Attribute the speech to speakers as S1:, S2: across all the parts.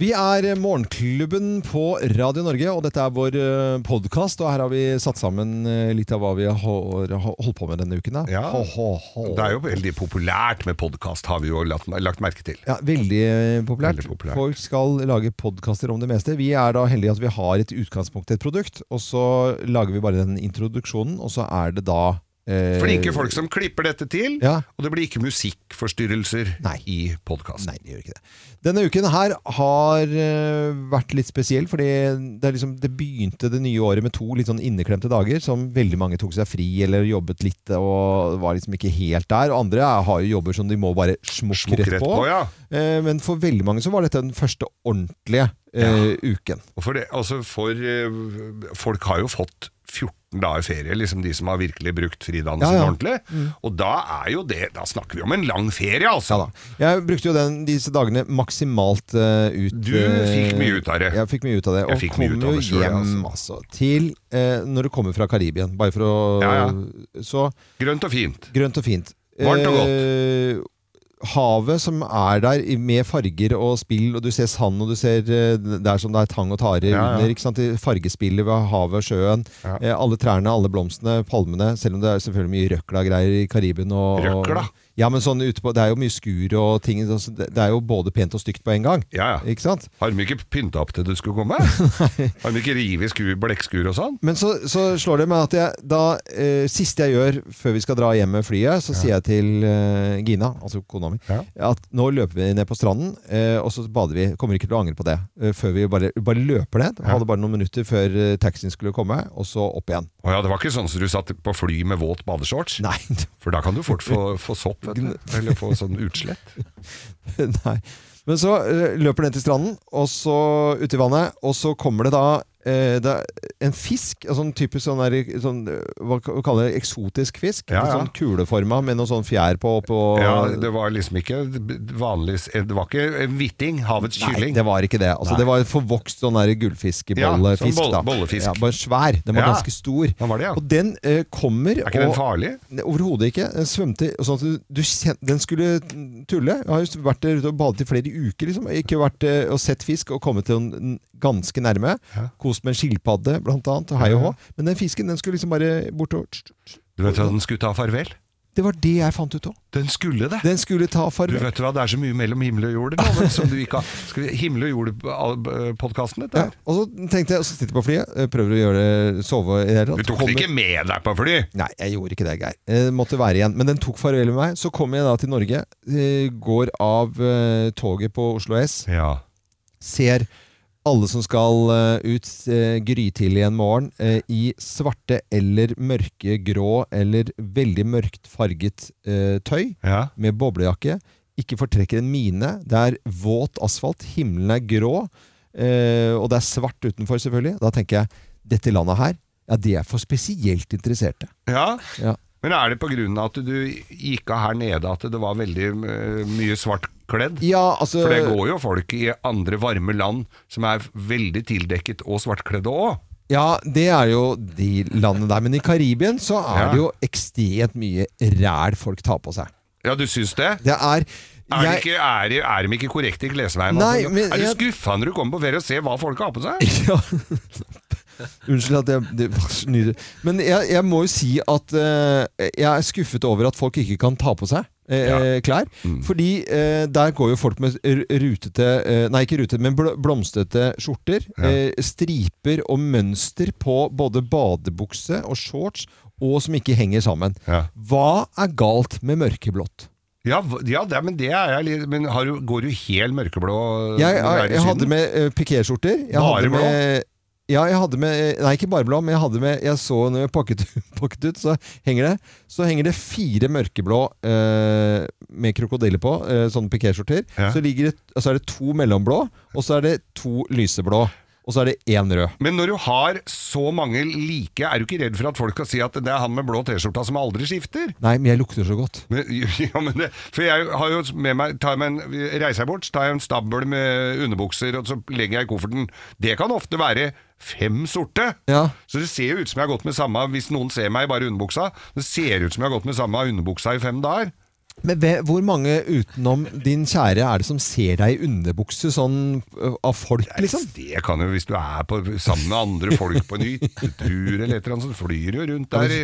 S1: Vi er Morgenklubben på Radio Norge, og dette er vår podkast. Og her har vi satt sammen eh, litt av hva vi har har holdt på med denne uken. Da.
S2: Ja.
S1: Ho, ho, ho.
S2: Det er jo veldig populært med podkast, har vi jo lagt, lagt merke til.
S1: Ja, veldig eh, populært.
S2: Veldig populært.
S1: Folk skal lage podkaster om det meste. Vi er da heldige at vi har et utgangspunkt, et produkt, og så lager vi bare den introduksjonen, og så er det da eh,
S2: Flinke folk som klipper dette til,
S1: Ja.
S2: og det blir ikke musikkforstyrrelser
S1: Nei.
S2: i podkasten.
S1: Nei, det gjør ikke det. Denne uken her har eh, vært litt spesiell, fordi det, er liksom, det begynte det nye året med to litt sånn inneklemte dager, som veldig mange tok seg fri eller jobbet litt og var liksom ikke helt der. Og andre er- har jo jobber som de må bare smukke
S2: Smokk
S1: rett på.
S2: ja.
S1: Eh, Men for veldig mange så var dette den første ordentlige eh, uken.
S2: Og for det, altså for, eh, folk har jo fått 14 dager ferie, liksom de som har virkelig brukt fridagen
S1: Ja,
S2: sin
S1: ja. Mm.
S2: ordentlig. Og da er jo det Da snakker vi om en lang ferie,
S1: Ja
S2: altså.
S1: da. Jeg brukte jo den, disse dagene maksimalt eh, ut.
S2: Du fikk mye ut av det.
S1: Jeg fikk mye ut av det.
S2: Jeg
S1: Og
S2: fikk mye
S1: kom
S2: ut av
S1: jo
S2: det selv, jeg,
S1: hjem altså. til eh, Når du kommer fra Karibien, bare for å
S2: Ja,
S1: Så
S2: Grønt og fint.
S1: grønt og fint.
S2: Varmt og
S1: Eh, Havet som er der i- med farger og spill, og du ser sand, og du ser eh, der som det er tang og tare
S2: ja.
S1: under. Ikke sant? Det Fargespillet ved havet, sjøen.
S2: Ja.
S1: Eh, alle trærne, alle blomstene, palmene. Selv om det er selvfølgelig mye røkla-greier i Karibien. Og, og-
S2: Røkla?
S1: Ja, men sånn ute på, Det er jo mye skur og ting. altså, Det det er jo både pent og stygt på en gang.
S2: Ja, ja.
S1: Ikke sant?
S2: Har de ikke pynta opp til du skulle komme? Har de ikke revet skur, blekkskur og sånn?
S1: Men så, så slår det meg at jeg, da, eh, siste jeg gjør før vi skal dra hjem med flyet, så sier jeg til eh, Gina, altså kona mi,
S2: Ja.
S1: at nå løper vi ned på stranden, eh, og så bader vi. Kommer ikke til å angre på det. Eh, før vi bare, bare løper ned. Hadde bare noen minutter før eh, taxien skulle komme, og så opp igjen.
S2: Å ja, det var ikke sånn som du satt på fly med våt badeshorts?
S1: Nei,
S2: For da kan du fort få, få sopp, vet du. Eller få sånn utslett.
S1: Nei. Men så eh, løper den til stranden, og så ut i vannet, og så kommer det da eh, det er en fisk, en sånn typisk sånn der, sånn, eh, hva ka- hva kaller det, eksotisk fisk.
S2: Ja, ja.
S1: Sånn kuleforma med noe sånn fjær på. på
S2: Ja, det var liksom ikke vanlig Det var ikke en hvitting, havets
S1: Nei,
S2: kylling.
S1: det var ikke det. Altså,
S2: Nei.
S1: det var en forvokst sånn der
S2: Ja, sånn
S1: gullfiskbollefisk.
S2: boll-
S1: da.
S2: bollefisk.
S1: Ja, bare svær. Den var
S2: Ja.
S1: ganske stor.
S2: Hva var det, ja?
S1: Og den eh, kommer
S2: Er ikke
S1: og
S2: den farlig?
S1: Ne, Overhodet ikke. Den svømte sånn at du, du kjen, Den skulle tulle. Jeg har jo vært der ute og badet i flere uker. Liksom. Jeg har Ikke vært eh, og sett fisk og kommet til den ganske nærme.
S2: Ja.
S1: Kost med en skilpadde, blant annet. og Hei og hå. Men den fisken den skulle liksom bare bortover.
S2: Du vet at den skulle ta farvel?
S1: Det var det jeg fant ut òg.
S2: Den skulle det!
S1: Den skulle ta
S2: Du
S1: farvel.
S2: vet hva, Det er så mye mellom himmel og jord. nå, vet du, Som du ikke har. Skal vi Himmel og jord-podkasten, dette
S1: Ja,
S2: her.
S1: og så tenkte jeg, og så sitter jeg på flyet, eh, prøver å gjøre det, sove i det hele
S2: Du
S1: tatt.
S2: tok den
S1: Kommer-
S2: ikke med deg på fly!
S1: Nei, jeg gjorde ikke det, Geir. Jeg måtte være igjen. Men den tok farvel med meg. Så kommer jeg da til Norge, eh, går av eh, toget på Oslo S.
S2: Ja.
S1: ser alle som skal eh, ut eh, grytidlig en morgen eh, i svarte eller mørke grå eller veldig mørkt farget eh, tøy
S2: ja.
S1: med boblejakke. Ikke fortrekker en mine. Det er våt asfalt, himmelen er grå, eh, og det er svart utenfor, selvfølgelig. Da tenker jeg dette landet her, ja, det er for spesielt interesserte.
S2: ja.
S1: Ja.
S2: Men er det pga. at du gikk av her nede at det var veldig eh, mye svart kledd?
S1: Ja, altså
S2: For det går jo folk i andre varme land som er veldig tildekket og svartkledde òg.
S1: Ja, det er jo de landene der. Men i Karibien så er
S2: Ja.
S1: det jo ekstremt mye ræl folk tar på seg.
S2: Ja, du syns det?
S1: Det er
S2: Er, de
S1: jeg-
S2: ikke, er, de- er de ikke korrekte i klesveien? altså?
S1: Nei, men
S2: er du
S1: jeg-
S2: skuffa når du kommer på ferie og ser hva folk har på seg?
S1: ja. Unnskyld at jeg det var så nydelig. Men jeg, jeg må jo si at eh, jeg er skuffet over at folk ikke kan ta på seg eh,
S2: Ja.
S1: klær. Fordi eh, der går jo folk med r- rutete eh, Nei, ikke rutete, men bl blomstrete skjorter.
S2: Ja.
S1: eh, striper og mønster på både badebukse og shorts, og som ikke henger sammen.
S2: Ja.
S1: Hva er galt med mørkeblått?
S2: Ja, hva- ja det, men det er jeg litt Men har du, går du helt mørkeblå?
S1: Jeg,
S2: når du er i
S1: jeg, jeg hadde
S2: Syden?
S1: med uh, pikéskjorter. Jeg
S2: Bare
S1: hadde med- Ja, jeg hadde med eh, Nei, ikke bare blå, men jeg hadde med Jeg så når jeg pakket, pakket ut, så henger det Så henger det fire mørkeblå eh, med krokodiller på, eh, sånne pikéskjorter.
S2: Ja.
S1: Så, ligger det, og så er det to mellomblå, og så er det to lyseblå. Og så er det én rød.
S2: Men når du har så mange like, er du ikke redd for at folk skal si at det er han med blå T-skjorta som aldri skifter?
S1: Nei, men jeg lukter så godt.
S2: Men, ja, men det, for jeg har jo med meg tar jeg meg en, Reiser jeg bort, så tar jeg en stabel med underbukser, og så legger jeg i kofferten. Det kan ofte være fem sorte.
S1: Ja.
S2: Så det ser jo ut som jeg har gått med samme Hvis noen ser meg i bare underbuksa, det ser ut som jeg har gått med samme underbuksa i fem dager.
S1: Men hve- hvor mange utenom din kjære er det som ser deg i underbukse sånn ø, av folk, liksom?
S2: Det kan jo, hvis du er på, sammen med andre folk på en hyttetur eller et eller annet, så flyr du jo rundt der i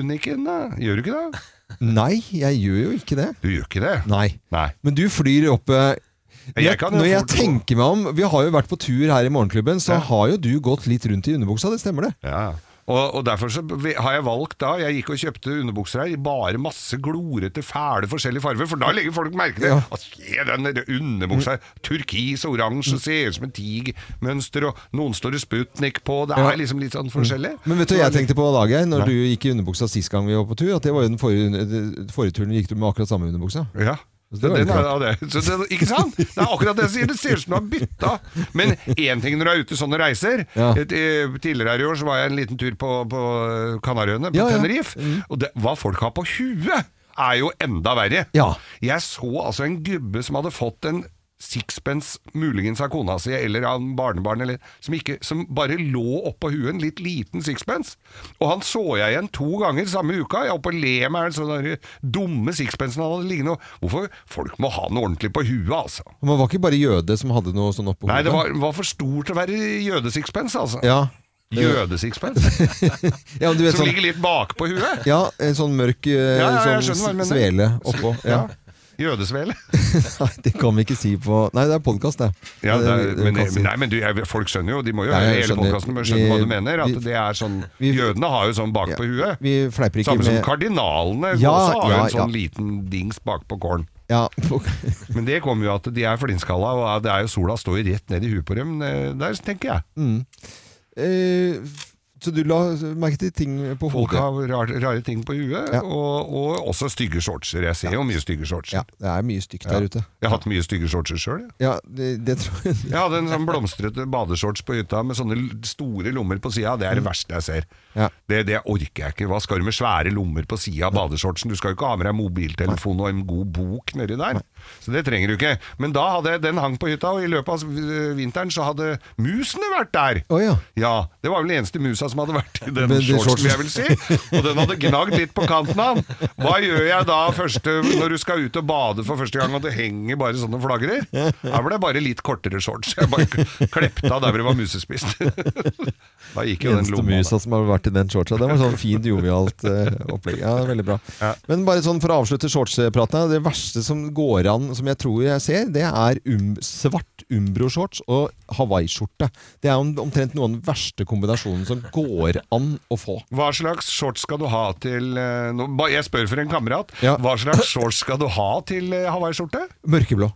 S2: Uniken, da. Gjør du ikke det?
S1: Nei, jeg gjør jo ikke det.
S2: Du gjør ikke det?
S1: Nei.
S2: Nei.
S1: Men du flyr opp eh,
S2: Jeg kan jo
S1: Når jeg
S2: fort-
S1: tenker meg om Vi har jo vært på tur her i Morgenklubben, så
S2: Ja.
S1: har jo du gått litt rundt i underbuksa, det stemmer det?
S2: Ja. Og, og derfor så vi- har jeg valgt da Jeg gikk og kjøpte underbukser her i bare masse glorete, fæle forskjellige farger, for da legger folk merke til
S1: Ja.
S2: at se den der underbuksa her, turkis og
S1: Mm.
S2: oransje, ser ut som en tigermønster, og noen står det Sputnik på, det er
S1: Ja. Mm.
S2: liksom litt sånn forskjellig.
S1: Men vet du hva jeg tenkte på Dag, jeg, når du gikk i underbuksa sist gang vi var på tur? At det var jo den forrige, den forrige turen gikk du med akkurat samme underbuksa.
S2: Ja.
S1: Så Altså,
S2: Så
S1: det var
S2: den
S1: litt
S2: er, ja, det, så det, ikke sant? Det er akkurat det jeg sier. Det ser ut som du har bytta. Men én ting når du er ute sånne reiser
S1: Ja.
S2: Et, eh, Tidligere her i år så var jeg en liten tur på, på Kanariøyene, på
S1: Ja, ja.
S2: Tenerife. Og det, hva folk har på huet, er jo enda verre.
S1: Ja.
S2: Jeg så altså en gubbe som hadde fått en sixpence, muligens av kona si eller av en barnebarn, eller, som, ikke, som bare lå oppå huet, en litt liten sixpence. Og han så jeg igjen to ganger samme uka. Jeg er oppe og ler meg av den sånne der dumme sixpencen han hadde liggende. og- Hvorfor? Folk må ha noe ordentlig på huet, altså.
S1: Og Man var ikke bare jøde som hadde noe sånn oppå
S2: Nei, det var, var for stort til å være jødesixpence, altså.
S1: Ja.
S2: Jødesixpence,
S1: ja, men du vet
S2: som
S1: sånn
S2: ligger litt bakpå huet.
S1: ja, en sånn mørk eh,
S2: Ja, ja,
S1: sånn
S2: jeg skjønner hva du mener.
S1: svele oppå. Ja.
S2: Ja. Jødesvele.
S1: Nei, det kan vi ikke si på Nei, det er podkast, det.
S2: Ja, det er,
S1: vi
S2: Eh, men,
S1: kan si.
S2: nei, men du, jeg, folk skjønner jo, de må jo
S1: Ja,
S2: høre
S1: jeg
S2: hele
S1: skjønner.
S2: podkasten, men skjønner hva
S1: Vi-
S2: du mener. At
S1: vi-
S2: det er sånn,
S1: vi-
S2: Jødene har jo sånn bak på huet.
S1: Vi fleiper ikke
S2: Samme som
S1: med
S2: kardinalene
S1: Ja,
S2: også har jo en
S1: ja,
S2: sånn liten dings bak på kålen.
S1: Ja,
S2: Men det kommer jo at de er flintskalla, og det er jo sola står jo rett ned i huet på dem eh, der, tenker
S1: Mm.
S2: jeg.
S1: Eh, Så du la merke til ting på
S2: Folk
S1: hodet?
S2: har rar, rare ting på huet,
S1: Ja.
S2: og, og også stygge shortser. Jeg ser jo mye stygge shortser.
S1: Ja, det er mye stygt der ute.
S2: Jeg har hatt mye stygge shortser sjøl. jeg.
S1: Ja, det, det tror jeg.
S2: Jeg hadde en sånn blomstrete badeshorts på hytta med sånne l- store lommer på sida. Det er det verste jeg ser.
S1: Mm. Ja.
S2: Det, det orker jeg ikke. Hva skal du med svære lommer på sida av badeshortsen? Du skal jo ikke ha med deg mobiltelefon og en god bok nedi der. Så det trenger du ikke. Men da hadde jeg den hang på hytta, og i løpet av øh, vinteren så hadde musene vært der.
S1: Å ja.
S2: Ja, det var vel den eneste musa som hadde vært i den
S1: Men det
S2: shortsen,
S1: shortsen.
S2: vil jeg vil si. Og den hadde gnagd litt på kanten av den. Hva gjør jeg da første, når du skal ut og bade for første gang, og det henger bare sånne flagrer? Her ble det bare litt kortere shorts. Jeg bare klepte av der hvor det var musespist. Da gikk jo den
S1: Eneste
S2: lomma.
S1: musa som har vært i den shortsa. Det var sånn fint jovialt eh, opplegg. Ja, veldig bra. Men bare sånn for å avslutte shortspraten. Det verste som går an, som jeg tror jeg ser, det er um, svart umbro-shorts og hawaiiskjorte. Det er om, omtrent noe av den verste kombinasjonen som går an å få.
S2: Hva slags shorts skal du ha til eh, nå, ba- Jeg spør for en kamerat.
S1: Ja.
S2: Hva slags shorts skal du ha til eh, hawaiiskjorte?
S1: Mørkeblå.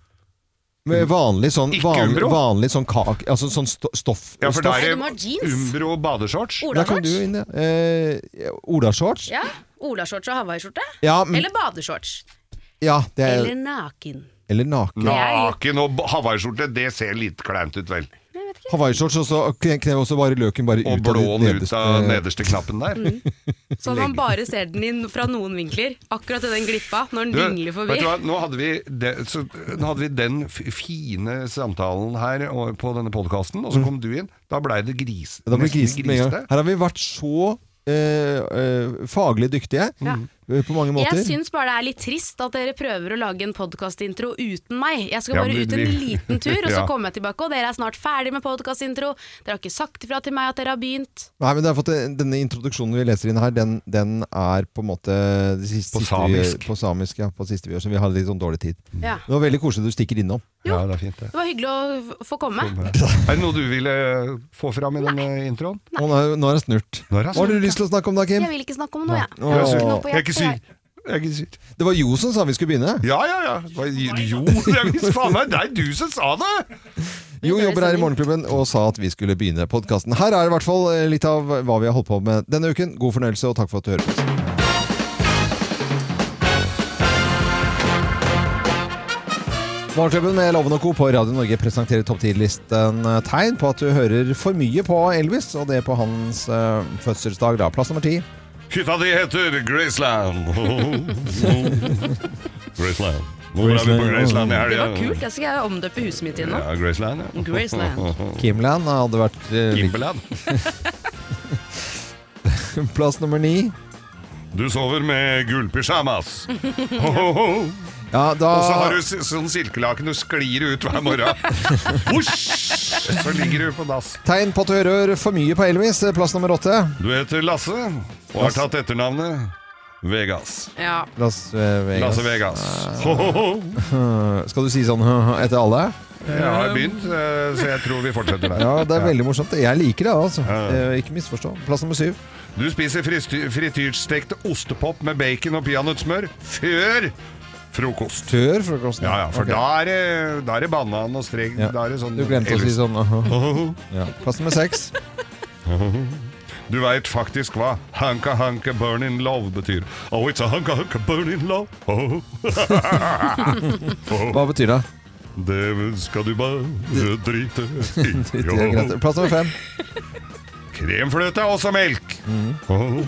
S1: Med vanlig sånn,
S2: Mm. Ikke
S1: vanlig,
S2: umbro?
S1: vanlig sånn kak... Altså sånn sto- stoff.
S2: Ja, for da
S1: stoff.
S2: er det
S3: Nei, du må ha jeans.
S2: Umbro badeshorts.
S1: Der kom du
S3: Olashorts?
S1: inn, ja. Eh, Olashorts?
S3: Ja. Olashorts og hawaiiskjorte?
S1: Ja, men-
S3: Eller badeshorts?
S1: Ja, det
S2: Eh,
S1: er,
S3: Eller
S1: eller, naken.
S3: naken? Nei. er litt-
S2: Naken og ba- hawaiiskjorte, det ser litt kleint ut, vel.
S1: Hawaiiskjorts, og så kne- knev også bare løken bare
S2: Og
S1: ut av
S2: blåen
S1: de
S2: ut av nederste knappen der.
S3: Sånn man bare ser den inn fra noen vinkler. Akkurat i den glippa, når den
S2: Du,
S3: dingler forbi.
S2: Vet du hva, nå hadde vi, det, så, nå hadde vi den f- fine samtalen her og, på denne podkasten, og så kom du inn. Mm. Da blei det gris.
S1: Da blir
S2: nesten
S1: grisen med en gang.
S2: grisete.
S1: Her har vi vært så eh, eh, faglig dyktige
S3: Ja.
S1: eh, på mange måter.
S3: Jeg syns bare det er litt trist at dere prøver å lage en podkastintro uten meg. Jeg skal
S2: Ja,
S3: bare
S2: men
S3: ut en
S2: vi-
S3: liten tur, og
S2: Ja.
S3: så kommer jeg tilbake, og dere er snart ferdig med podkastintro. Dere har ikke sagt ifra til meg at dere har begynt.
S1: Nei, men det er for at det- Denne introduksjonen vi leser inn her, den, den er på en måte det siste,
S2: På
S1: siste vi gjør-
S2: samisk.
S1: på samisk. Ja, på siste vi gjør, så vi hadde litt sånn dårlig tid.
S3: Ja.
S1: Det var veldig koselig at du stikker innom.
S2: Ja, det er fint, det.
S3: Det var hyggelig å f- få komme.
S2: Er det noe du ville få fram i denne introen?
S1: Og nå er- nå har jeg snurt.
S2: Nå har jeg
S1: Hva har du
S2: snurt,
S1: lyst til å snakke om da, Kim?
S3: Jeg vil ikke snakke om noe, jeg.
S1: Åh.
S3: Ikke noe på
S2: Jeg er ikke
S3: hjertet, jeg.
S2: syk. Jeg er ikke syk.
S1: Det var Jo som sa vi skulle begynne.
S2: Ja, ja, ja. Hva- Jo, det er visst faen meg det er du som sa det!
S1: Jo
S3: Videre
S1: jobber her i
S3: sending.
S1: Morgenklubben og sa at vi skulle begynne podkasten. Her er i hvert fall eh, litt av hva vi har holdt på med denne uken. God fornøyelse, og takk for at du hører på. oss. Morgenklubben med Loven og Co. på Radio Norge presenterer topp 10-listen eh, tegn på at du hører for mye på Elvis, og det på hans eh, fødselsdag, da. Plass nummer ti.
S2: Hytta di heter Graceland. Graceland. Nå er vi på
S1: Graceland.
S2: Graceland i
S3: Det
S2: helga.
S3: var kult. Jeg skal omdøpe huset mitt igjen nå.
S2: Ja, Graceland, ja.
S3: Graceland.
S1: Kimland hadde vært eh,
S2: Gimbeland.
S1: Plass nummer ni.
S2: Du sover med gullpysjamas. Ho, ho, ho.
S1: Ja, da,
S2: Og så har du si- sånn silkelaken du sklir ut hver morgen. Husj! Så ligger du på dass.
S1: Tegn på at du hører for mye på Elvis, eh, plass nummer åtte.
S2: Du heter Lasse og har tatt etternavnet Vegas.
S3: Ja.
S1: Las eh, Vegas.
S2: Lasse Vegas. Ho, ho, ho.
S1: Eh, Skal du si sånn etter alle?
S2: Jeg har begynt, eh, så jeg tror vi fortsetter der.
S1: Ja, det er veldig morsomt. Jeg liker det, altså.
S2: Ja.
S1: Eh, Ikke misforstå. Plass nummer syv.
S2: Du spiser fristy- frityrstekt ostepop med bacon og peanøttsmør før frokost.
S1: Før frokosten.
S2: Ja, ja, for
S1: Ok.
S2: da, er det, da er det banan og streng.
S1: Ja.
S2: Da er det sånn
S1: Du glemte å si sånn.
S2: sånn.
S1: Ja. Plass nummer seks.
S2: Du veit faktisk hva hanka hanka burn in love betyr. Oh, it's a hanka hanka burn in love. Oh.
S1: Hva betyr det?
S2: Det skal du bare drite i.
S1: Det er greit. Plass nummer fem.
S2: Kremfløte er også melk. Oh.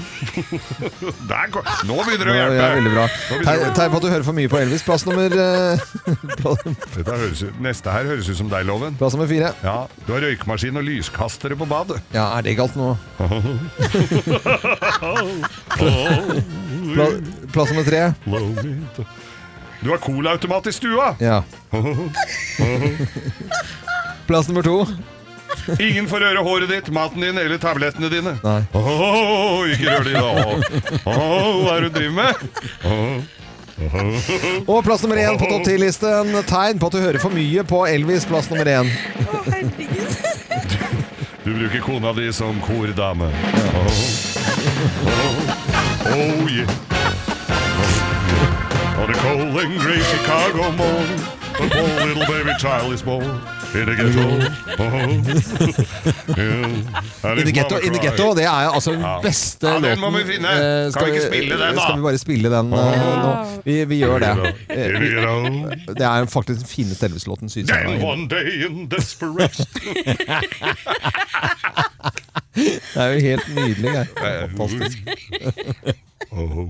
S2: Der kom. Nå begynner det å
S1: Mhm. Ja, ja, veldig
S2: hjelpe.
S1: bra.
S2: begynner
S1: Tegn
S2: det.
S1: tegn på at du hører for mye på Elvis. Plass nummer, eh, plass-
S2: Dette høres ut, neste her høres ut som deg, Loven.
S1: plass nummer fire.
S2: Ja, Du har røykmaskin og lyskastere på badet.
S1: Ja, er det galt nå? Pla, plass nummer tre.
S2: Du har colaautomat i stua.
S1: Ja. Plass nummer to.
S2: Ingen får røre håret ditt, maten din eller tablettene dine.
S1: Nei.
S2: Åh, ikke rør de da. Åh, hva er det du driver med?
S1: Og plass nummer én på topp ti-listen. Tegn på at du hører for mye på Elvis. Plass nummer én.
S2: Du bruker kona di som kordame. Åh, åh, oh yeah. On a cold and gray Chicago morning, a poor little baby child is born in the ghetto. Oh, yeah. And
S1: In the
S2: his
S1: ghetto,
S2: mama
S1: in the
S2: cries.
S1: ghetto det er altså den beste
S2: Ja, den
S1: låten.
S2: må vi finne.
S1: Eh,
S2: Kan
S1: skal
S2: vi ikke spille den, da?
S1: Skal vi bare spille den eh, nå? Vi, vi gjør det. Eh,
S2: In the ghetto.
S1: Det er faktisk den fineste Elvis-låten, synes
S2: Then
S1: jeg.
S2: one day in desperation
S1: Det er jo helt nydelig. jeg. Fantastisk.
S2: Oh, oh.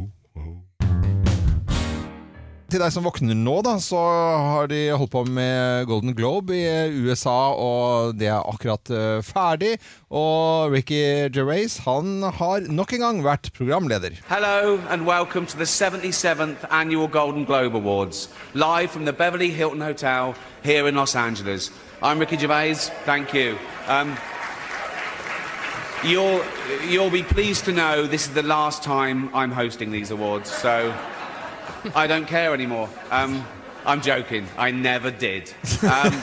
S1: Til deg som våkner nå, da, så har de holdt på med Golden Globe i USA, og det er akkurat eh, ferdig. Og Ricky Gervais, han har nok en gang vært programleder.
S4: Hello and welcome to the 77th Annual Golden Globe Awards, live from the Beverly Hilton Hotel here in Los Angeles. I'm Ricky Gervais, thank you. Um, you'll, you'll be pleased to know this is the last time I'm hosting these awards, so I don't care anymore. Um, I'm joking, I never did. Um,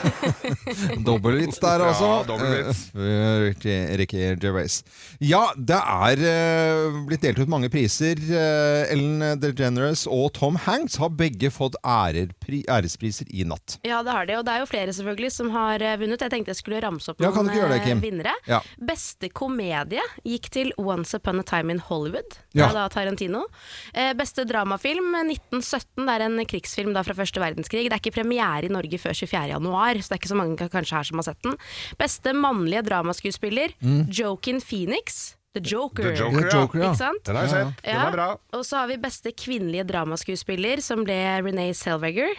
S1: Dobbeltvits der,
S2: Ja,
S1: altså.
S2: dobbeltvits.
S1: Eh, Ricky, Ricky Gervais. Ja, det er eh, blitt delt ut mange priser. Eh, Ellen DeGeneres og Tom Hanks har begge fått ærepri, ærespriser i natt.
S3: Ja, det har de, og det er jo flere selvfølgelig som har eh, vunnet. Jeg tenkte jeg skulle ramse opp
S1: Ja, kan
S3: noen
S1: du ikke gjøre det,
S3: eh,
S1: Kim?
S3: vinnere.
S1: Ja.
S3: Beste komedie gikk til Once Upon a Time in Hollywood,
S1: Ja.
S3: ja. da Tarantino. Eh, beste dramafilm, eh, 1917, det er en krigsfilm da fra første verdenskrig. Det er ikke premiere i Norge før 24. januar, så det er ikke så mange ka- kanskje her som har sett den. Beste mannlige dramaskuespiller,
S1: Mm.
S3: Joaquin Phoenix, The Joker.
S2: The Joker,
S1: The
S2: ja.
S1: Joker, ja.
S3: Ikke sant?
S2: Den har jeg sett. Den er bra.
S3: Og så har vi beste kvinnelige dramaskuespiller, som ble Renee Selvager.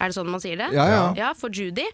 S3: Er det sånn man sier det?
S1: Ja, ja.
S3: for Judy.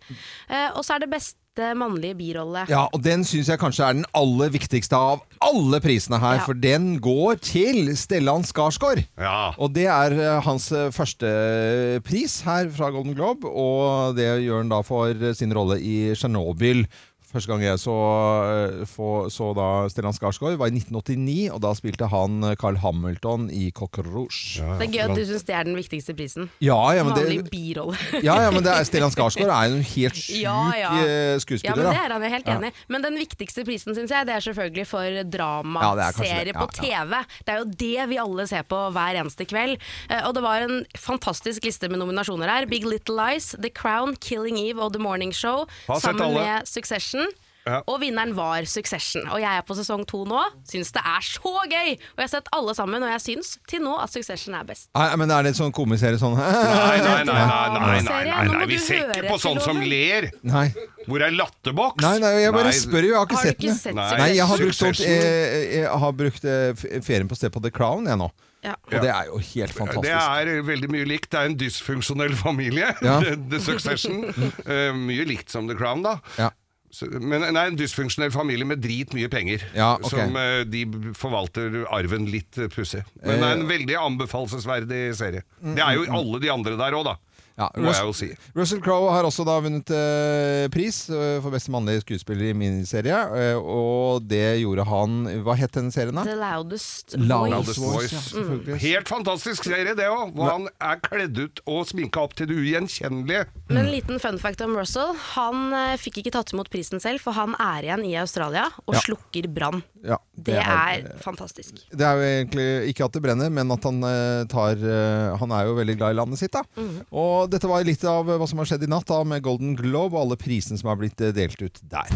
S3: Eh, og så er det beste mannlige birolle.
S1: Ja, og den syns jeg kanskje er den aller viktigste av alle prisene her,
S3: Ja.
S1: for den går til Stellan Skarsgård.
S2: Ja.
S1: Og det er eh, hans eh, første eh, pris her fra Golden Globe, og det gjør han da for eh, sin rolle i Tsjernobyl. Første gang jeg så, eh, få- så da Stellan Skarsgård, var i 1989, og da spilte han eh, Carl Hamilton i Coq Rouge. Ja,
S3: Det er gøy at du syns det er den viktigste prisen.
S1: ja, men
S3: Mannlig
S1: det,
S3: birolle.
S1: ja, ja, men det er, Stellan Skarsgård er jo en helt sjuk
S3: Ja, ja.
S1: eh,
S3: Ja,
S1: skuespiller.
S3: men Det
S1: da.
S3: er han jo helt enig i. Men den viktigste prisen, syns jeg, det er selvfølgelig for
S1: Ja, det er kanskje
S3: dramaserie
S1: det. Ja,
S3: på TV. Det er jo det vi alle ser på hver eneste kveld. Eh, Og det var en fantastisk liste med nominasjoner her. Big Little Lies, The Crown, Killing Eve og The Morning Show
S2: Har sett
S3: sammen
S2: alle.
S3: med Succession.
S2: Ja.
S3: Og vinneren var Succession. Og jeg er på sesong to nå. Syns det er så gøy! Og jeg har sett alle sammen, og jeg syns til nå at Succession er best.
S1: Nei, men er det en sånn komiserie sånn
S2: Nei, nei, nei, nei, nei, nei,
S3: Serie,
S2: nei,
S3: nå må
S2: nei.
S3: du
S2: vi ser ikke
S3: høre
S2: på sånn
S3: etter,
S2: som
S3: Loven.
S2: ler.
S1: Nei.
S2: Hvor er latterboks?
S1: Nei, nei, jeg bare
S2: Nei,
S1: spør jo, jeg har ikke
S3: Har du
S1: sett
S3: ikke
S1: den.
S3: sett
S2: Nei.
S1: Nei, jeg har brukt,
S2: Succession.
S1: sånt, eh, jeg har brukt eh, f- ferien på å se på The Crown, jeg nå.
S3: Ja.
S1: Og det er jo helt
S2: Det
S1: fantastisk.
S2: er veldig mye likt. Det er en dysfunksjonell familie,
S1: Ja.
S2: The, The Succession. Eh, mye likt som The Crown, da.
S1: Ja.
S2: Så, men nei, en dysfunksjonell familie med dritmye penger.
S1: Ja, ok.
S2: Som eh, de b- forvalter arven litt eh, pussig. Men det er en veldig anbefalesverdig serie. Det er jo alle de andre der òg, da.
S1: mm, Ja,
S2: Må jeg
S1: Russell-
S2: jo si.
S1: Russell Crowe har også da vunnet eh, pris eh, for beste mannlige skuespiller i miniserie. eh, og det gjorde han Hva het den serien, da?
S3: The loudest
S1: Loudest
S2: Loudest
S3: voice. Mm.
S2: Voice.
S1: ja, selvfølgelig.
S2: Helt fantastisk serie, det òg. Hvor han er kledd ut og sminka opp til det ugjenkjennelige.
S3: Men
S1: Mm.
S3: en liten fun fact om Russell. Han eh, fikk ikke tatt imot prisen selv, for han er igjen i Australia og
S1: Ja.
S3: slukker brann.
S1: Ja,
S3: Det er fantastisk.
S1: Det er jo egentlig ikke at det brenner, men at han eh, tar eh, Han er jo veldig glad i landet sitt, da. Og dette var litt av hva som har skjedd i natt, da, med Golden Globe og alle prisene som har blitt eh, delt ut der.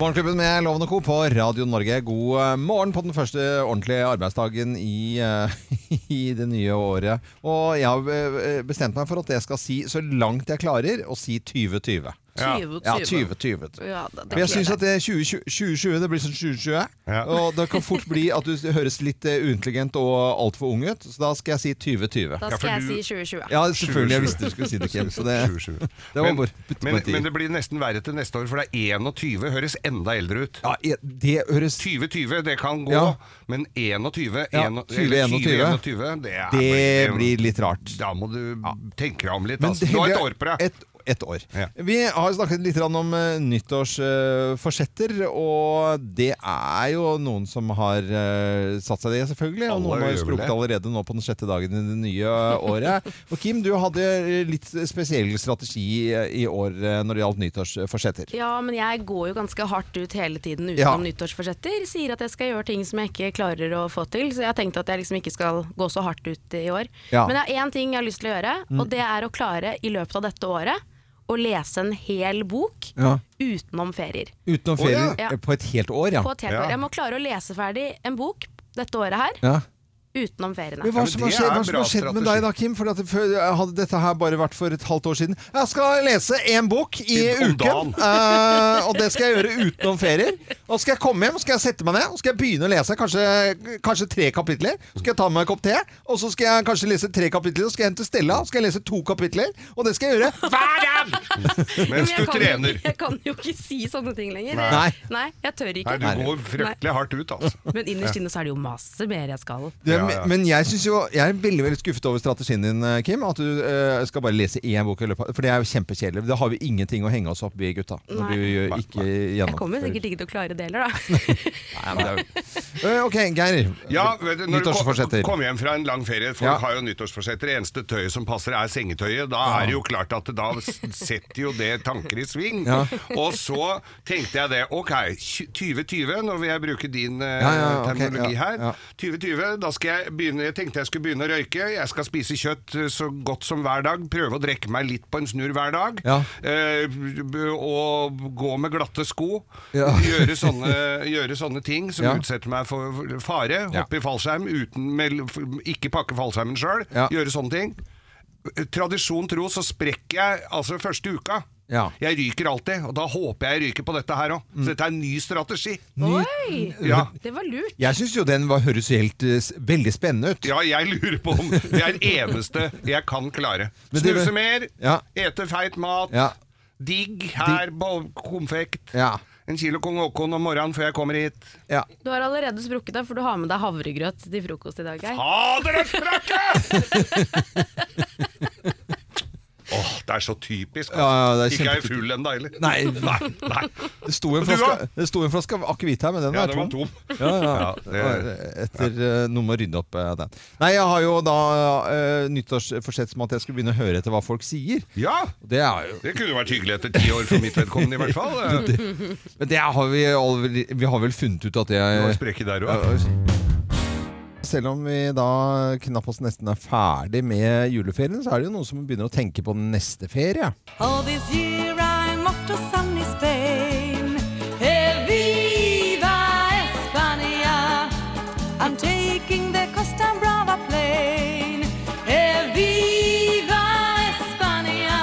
S1: Morgenklubben med Loven og Co. på Radio Norge. God eh, morgen på den første ordentlige arbeidsdagen i, eh, i det nye året. Og jeg har eh, bestemt meg for at jeg skal si, så langt jeg klarer, å si 2020. Ja, 2020.
S3: Ja,
S1: For
S3: da- det
S1: jeg
S3: gleder
S1: syns at det er 2020 2020, det blir sånn 2020.
S2: Ja.
S1: Og det kan fort bli at du høres litt eh, uintelligent og altfor ung ut, så da skal jeg si 2020.
S3: Da
S2: Ja, for
S3: skal jeg
S2: du-
S3: si 2020.
S1: Ja, selvfølgelig. Jeg visste du skulle si det, Kim. Så det, det var
S2: men,
S1: bare putt på
S2: men,
S1: en tier.
S2: men det blir nesten verre til neste år, for det er 21 høres enda eldre ut.
S1: ja, jeg- det høres
S2: 2020, det kan gå,
S1: Ja.
S2: men 21
S1: Ja,
S2: en- eller
S1: 2021,
S2: 2021, det, er
S1: Det
S2: bare-
S1: blir litt rart.
S2: Da må du tenke deg om litt.
S1: Men
S2: Altså. Du har et
S1: heller-
S2: år på deg.
S1: Et, et år.
S2: Ja.
S1: Vi har snakket litt grann om eh, nyttårsforsetter, og det er jo noen som har eh, satt seg det, selvfølgelig. Og
S2: Alle
S1: noen har
S2: gjør vel
S1: sprukket
S2: det.
S1: allerede nå på den sjette dagen i det nye året. Og Kim, du hadde eh, litt spesiell strategi i år eh, når det gjaldt nyttårsforsetter.
S3: Ja, men jeg går jo ganske hardt ut hele tiden
S1: Ja.
S3: utenom nyttårsforsetter. Sier at jeg skal gjøre ting som jeg ikke klarer å få til. Så jeg har tenkt at jeg liksom ikke skal gå så hardt ut i år.
S1: Ja. Mm.
S3: Men jeg har én ting jeg har lyst til å gjøre, og det er å klare i løpet av dette året å lese en hel bok
S1: Ja.
S3: utenom ferier.
S1: Utenom
S2: Å, ja.
S1: ferien eh, på et helt år, ja.
S3: På et helt
S2: Ja.
S3: år. Jeg må klare å lese ferdig en bok dette året her
S1: ja.
S3: utenom feriene.
S1: Men hva
S2: men
S1: som har
S2: det
S1: skjedd,
S2: er
S1: hva som
S2: bra
S1: har skjedd med
S2: strategi.
S1: deg da, Kim? For at det før, hadde dette her bare vært for et halvt år siden. Jeg skal lese én bok i
S2: I- om
S1: uken,
S2: dagen.
S1: eh, og det skal jeg gjøre utenom ferier. Og så skal jeg komme hjem, så skal jeg sette meg ned og skal jeg begynne å lese kanskje, kanskje tre kapitler. Så skal jeg ta meg en kopp te, og så skal jeg kanskje lese tre kapitler. Og så skal jeg hjem til Stella og så skal jeg lese to kapitler. Og det skal jeg gjøre hver dag!
S3: Men
S2: Mens
S3: jeg
S2: du
S3: kan-
S2: trener.
S3: Jeg kan jo ikke si sånne ting lenger.
S1: Nei.
S3: Nei jeg tør ikke.
S2: Nei, du går fryktelig hardt ut, altså.
S3: Men innerst inne så er det jo masse mer jeg skal.
S1: Det,
S2: Ja, ja.
S1: Men jeg, synes jo, jeg er veldig veldig skuffet over strategien din, eh, Kim. At du eh, skal bare lese én bok. i løpet av- For det er jo kjempekjedelig. Da har vi ingenting å henge oss opp i, gutta. Når
S3: Nei.
S1: du eh, ikke
S3: Jeg kommer
S1: gjennomfører.
S3: sikkert ikke til å klare det heller, da.
S1: Nei, men det er jo- Eh, Ok, Geir.
S2: Ja, vet du, når du kom,
S1: Nyttårsforsetter.
S2: kom hjem fra en lang ferie Folk
S1: Ja.
S2: har jo nyttårsforsetter. Det eneste tøyet som passer, er sengetøyet. Da er det jo klart at da s- setter jo det tanker i sving.
S1: Ja.
S2: Og så tenkte jeg det. Ok, tj- 2020, nå vil jeg bruke din eh,
S1: Ja, ja, ok,
S2: terminologi
S1: ja,
S2: her.
S1: ja.
S2: 2020, da skal jeg begynne Jeg tenkte jeg skulle begynne å røyke. Jeg skal spise kjøtt eh, så godt som hver dag. Prøve å drikke meg litt på en snurr hver dag.
S1: Ja.
S2: Eh, b- b- og gå med glatte sko.
S1: Ja.
S2: Gjøre, sånne, gjøre sånne ting som
S1: Ja.
S2: utsetter meg for for fare.
S1: Ja.
S2: Hoppe i fallskjerm, uten, med, ikke pakke fallskjermen sjøl.
S1: Ja.
S2: Gjøre sånne ting. Tradisjon tro så sprekker jeg altså første uka.
S1: Ja. Mm.
S2: Jeg ryker alltid, og da håper jeg jeg ryker på dette her òg. Så dette er en ny strategi.
S3: Oi!
S2: Ja.
S3: Det var lurt.
S1: Jeg syns jo den var, høres helt eh, s- veldig spennende ut.
S2: Ja, jeg lurer på om det er det eneste jeg kan klare.
S1: Men det-
S2: Snuse mer,
S1: Ja.
S2: ete feit mat,
S1: Ja.
S2: digg her på konfekt.
S1: Ja.
S2: En kilo kong Haakon om morgenen før jeg kommer hit.
S1: Ja.
S3: Du har allerede sprukket deg, for du har med deg havregrøt til frokost i dag. Geir.
S2: Ha dere sprakke! Åh, det er så typisk. Altså.
S1: Ja, ja, det er
S2: Ikke er jeg
S1: kjempe-
S2: full ennå heller.
S1: Nei.
S2: Nei, nei.
S1: Det sto en
S2: Og du,
S1: flaske,
S2: da?
S1: det sto en flaske av akevitt her, men den
S2: Ja,
S1: er
S2: den var
S1: tom.
S2: tom.
S1: Ja, ja.
S2: Ja,
S1: det
S2: det-
S1: var Etter eh, Noe med å rydde opp eh, den. Nei, jeg har jo da uh, nyttårsforsett som at jeg skulle begynne å høre etter hva folk sier.
S2: Ja,
S1: Og det er jo
S2: det kunne vært hyggelig etter ti år for mitt vedkommende i hvert fall. Det
S1: Men det har vi, allerede- vi har vel funnet ut at det
S2: var sprekke der
S1: Ja,
S2: også.
S1: Selv om vi da knappast nesten er ferdig med juleferien, så er det jo noen som begynner å tenke på neste ferie.
S5: All this year I'm off to sunny Spain. Hey, viva España! I'm taking the Costa Brava E plane. Hey, viva España!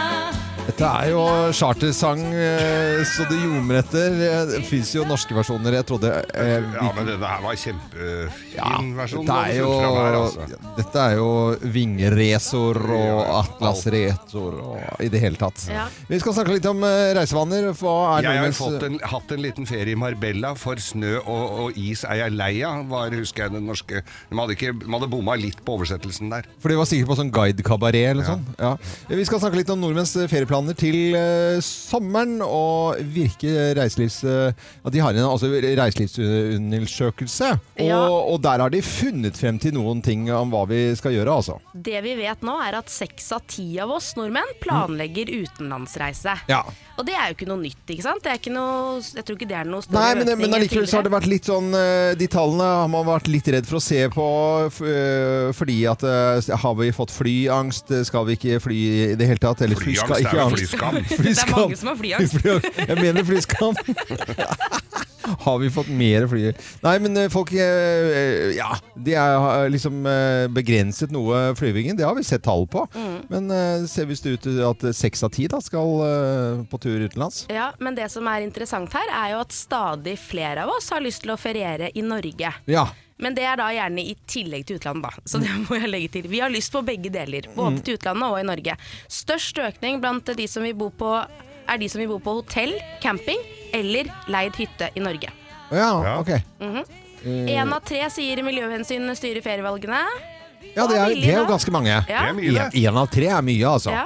S1: Dette er jo chartersang eh, så det ljomer etter. Eh, Det fins jo norske versjoner. Jeg trodde eh,
S2: Ja, men denne her var kjempefin
S1: ja,
S2: versjon.
S1: dette er,
S2: du hadde funnet fram her, altså.
S1: jo, dette er jo vingresor og atlasresor og i det hele tatt.
S3: Ja.
S1: Vi skal snakke litt om eh, reisevaner. Hva er
S2: Jeg har
S1: nordmenns-
S2: fått en, hatt en liten ferie i Marbella, for snø og, og is er jeg lei av, var, husker jeg den norske. De hadde, ikke, de hadde bomma litt på oversettelsen der.
S1: For de var sikkert på sånn guidekabaret eller sånn. Ja. Vi skal snakke litt om nordmenns ferieplaner til eh, sommeren, og virke reiselivs... eh, at de har en altså, reiselivsundersøkelse. Og,
S3: Ja.
S1: og der har de funnet frem til noen ting om hva vi skal gjøre, altså.
S3: Det vi vet nå er at seks av ti av oss nordmenn planlegger utenlandsreise.
S1: Mm. Ja.
S3: Og det er jo ikke noe nytt, ikke sant? Det er ikke noe, jeg tror ikke det er noe større
S1: Nei, men, eh,
S3: økning
S1: men
S3: enn
S1: allikevel så har det vært litt sånn eh, De tallene har man vært litt redd for å se på f- eh, fordi at eh, Har vi fått flyangst? Skal vi ikke fly i det hele tatt? Eller
S2: Flyangst
S1: skal
S2: er jo
S1: ikke angst?
S2: flyskam.
S3: Det er
S1: Flyskam.
S3: mange som har flyangst.
S1: Flyangst. Jeg mener flyskam. Har vi fått mer fly? Nei, men eh, folk eh, Ja, de er, har liksom eh, begrenset noe flyvingen. Det har vi sett tall på.
S3: Mm.
S1: Men eh, ser visst ut til at seks av ti da skal eh, på tur utenlands.
S3: Ja, men det som er interessant her, er jo at stadig flere av oss har lyst til å feriere i Norge.
S1: Ja.
S3: Men det er da gjerne i tillegg til utlandet, da. Så det må jeg legge til. Vi har lyst på begge deler,
S2: Mm.
S3: både til utlandet og i Norge. Størst økning blant de som vil bo på, er de som vil bo på hotell, camping eller leid hytte i Norge.
S1: Ja,
S2: Ja.
S1: ok.
S2: Mm.
S3: Én av tre sier miljøhensyn styrer ferievalgene.
S1: Ja, det er,
S3: billig,
S1: det er jo
S3: da.
S1: ganske mange.
S3: Ja.
S2: Det er mye, det.
S1: Én av tre er mye, altså.
S3: Ja.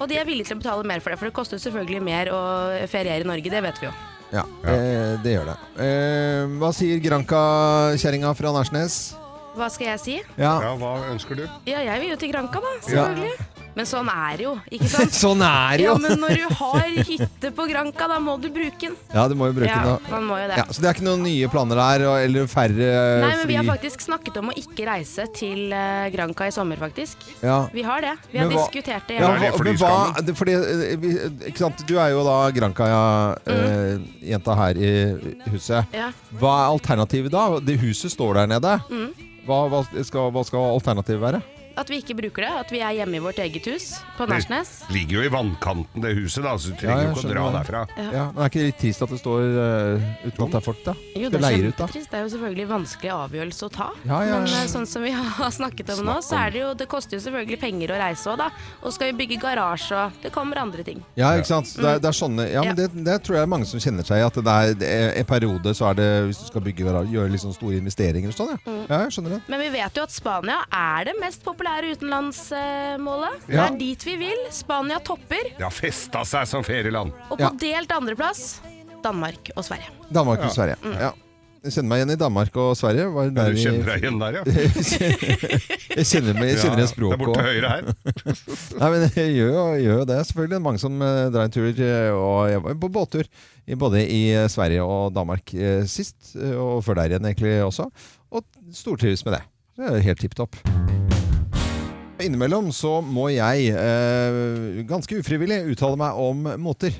S3: Og de er villige til å betale mer for det, for det koster selvfølgelig mer å feriere i Norge, det vet vi jo.
S1: Ja, Eh, det gjør det. Eh, hva sier Granka-kjerringa fra Nærsnes?
S3: Hva skal jeg si?
S1: Ja.
S2: Ja, hva ønsker du?
S3: Ja, jeg vil jo til Granka, da, selvfølgelig. Men sånn er det jo, ikke sant?
S1: Sånn er det
S3: Ja,
S1: jo!
S3: men når du har hytte på Granka, da må du bruke den.
S1: Ja, du må jo bruke
S3: Ja,
S1: den. da.
S3: man må jo det.
S1: Ja, så det er ikke noen nye planer der, og- eller færre eh,
S3: Nei, men
S1: fly?
S3: vi har faktisk snakket om å ikke reise til eh, Granka i sommer, faktisk.
S1: Ja.
S3: Vi har det. Vi har
S1: Men hva-
S3: diskutert det.
S1: Ja,
S2: Er
S1: hva, men
S2: det
S1: hva
S2: flyskammen?
S1: det- fordi, eh, vi- ikke sant? Du er jo da Granka-jenta her i huset.
S3: Mm. Ja.
S1: Hva er alternativet da? Det huset står der nede.
S3: Mm.
S1: Hva, hva, skal, hva skal alternativet være?
S3: At vi ikke bruker det. At vi er hjemme i vårt eget hus på
S2: Det
S3: Nærsnes.
S2: ligger jo i vannkanten, det huset, da, så du
S1: Ja,
S2: trenger
S1: jeg
S2: jo ikke å
S1: skjønner
S2: dra
S1: det.
S2: derfra.
S1: Ja. men Er ikke det litt trist at det står eh, uten at det er folk, da?
S3: Jo,
S1: det
S3: det er sånn
S1: leier ut, da.
S3: kjempetrist. Det er jo selvfølgelig vanskelig avgjørelse å ta.
S1: Ja, ja,
S3: Men
S1: ja.
S3: eh, sånn som vi har snakket om nå, så er det jo Det koster jo selvfølgelig penger å reise òg, da. Og skal vi bygge garasje og Det kommer andre ting.
S1: Ja, ikke sant? Det
S3: Mm.
S1: er, det er sånne, ja, men det, det tror jeg er mange som kjenner seg i. At det er det er- en periode så er det Hvis du skal bygge garasje, gjøre litt sånn store investeringer og sånn,
S3: Mm.
S1: ja. ja. Jeg skjønner det.
S3: Men vi vet jo at Spania er det mest populære utenlandsmålet. Det
S1: Ja.
S3: er dit vi vil. Spania topper.
S2: Det har festa seg som ferieland.
S3: Og på
S1: Ja.
S3: delt andreplass Danmark og Sverige.
S1: Danmark og Sverige. Ja. Jeg kjenner meg igjen i Danmark og Sverige. Var
S2: Du
S1: der i-
S2: kjenner deg igjen der, ja?
S1: Jeg kjenner, meg, jeg kjenner igjen
S2: det er
S1: språket
S2: borte til
S1: òg.
S2: høyre her.
S1: Nei, men jeg gjør jo gjør jo det, selvfølgelig. Mange som eh, drar en tur, eh, og jeg var jo på båttur i- både i eh, Sverige og Danmark eh, sist, eh, og før der igjen egentlig også. Og stortrives med det. Det er helt tipp topp. Innimellom så må jeg, eh, ganske ufrivillig, uttale meg om moter.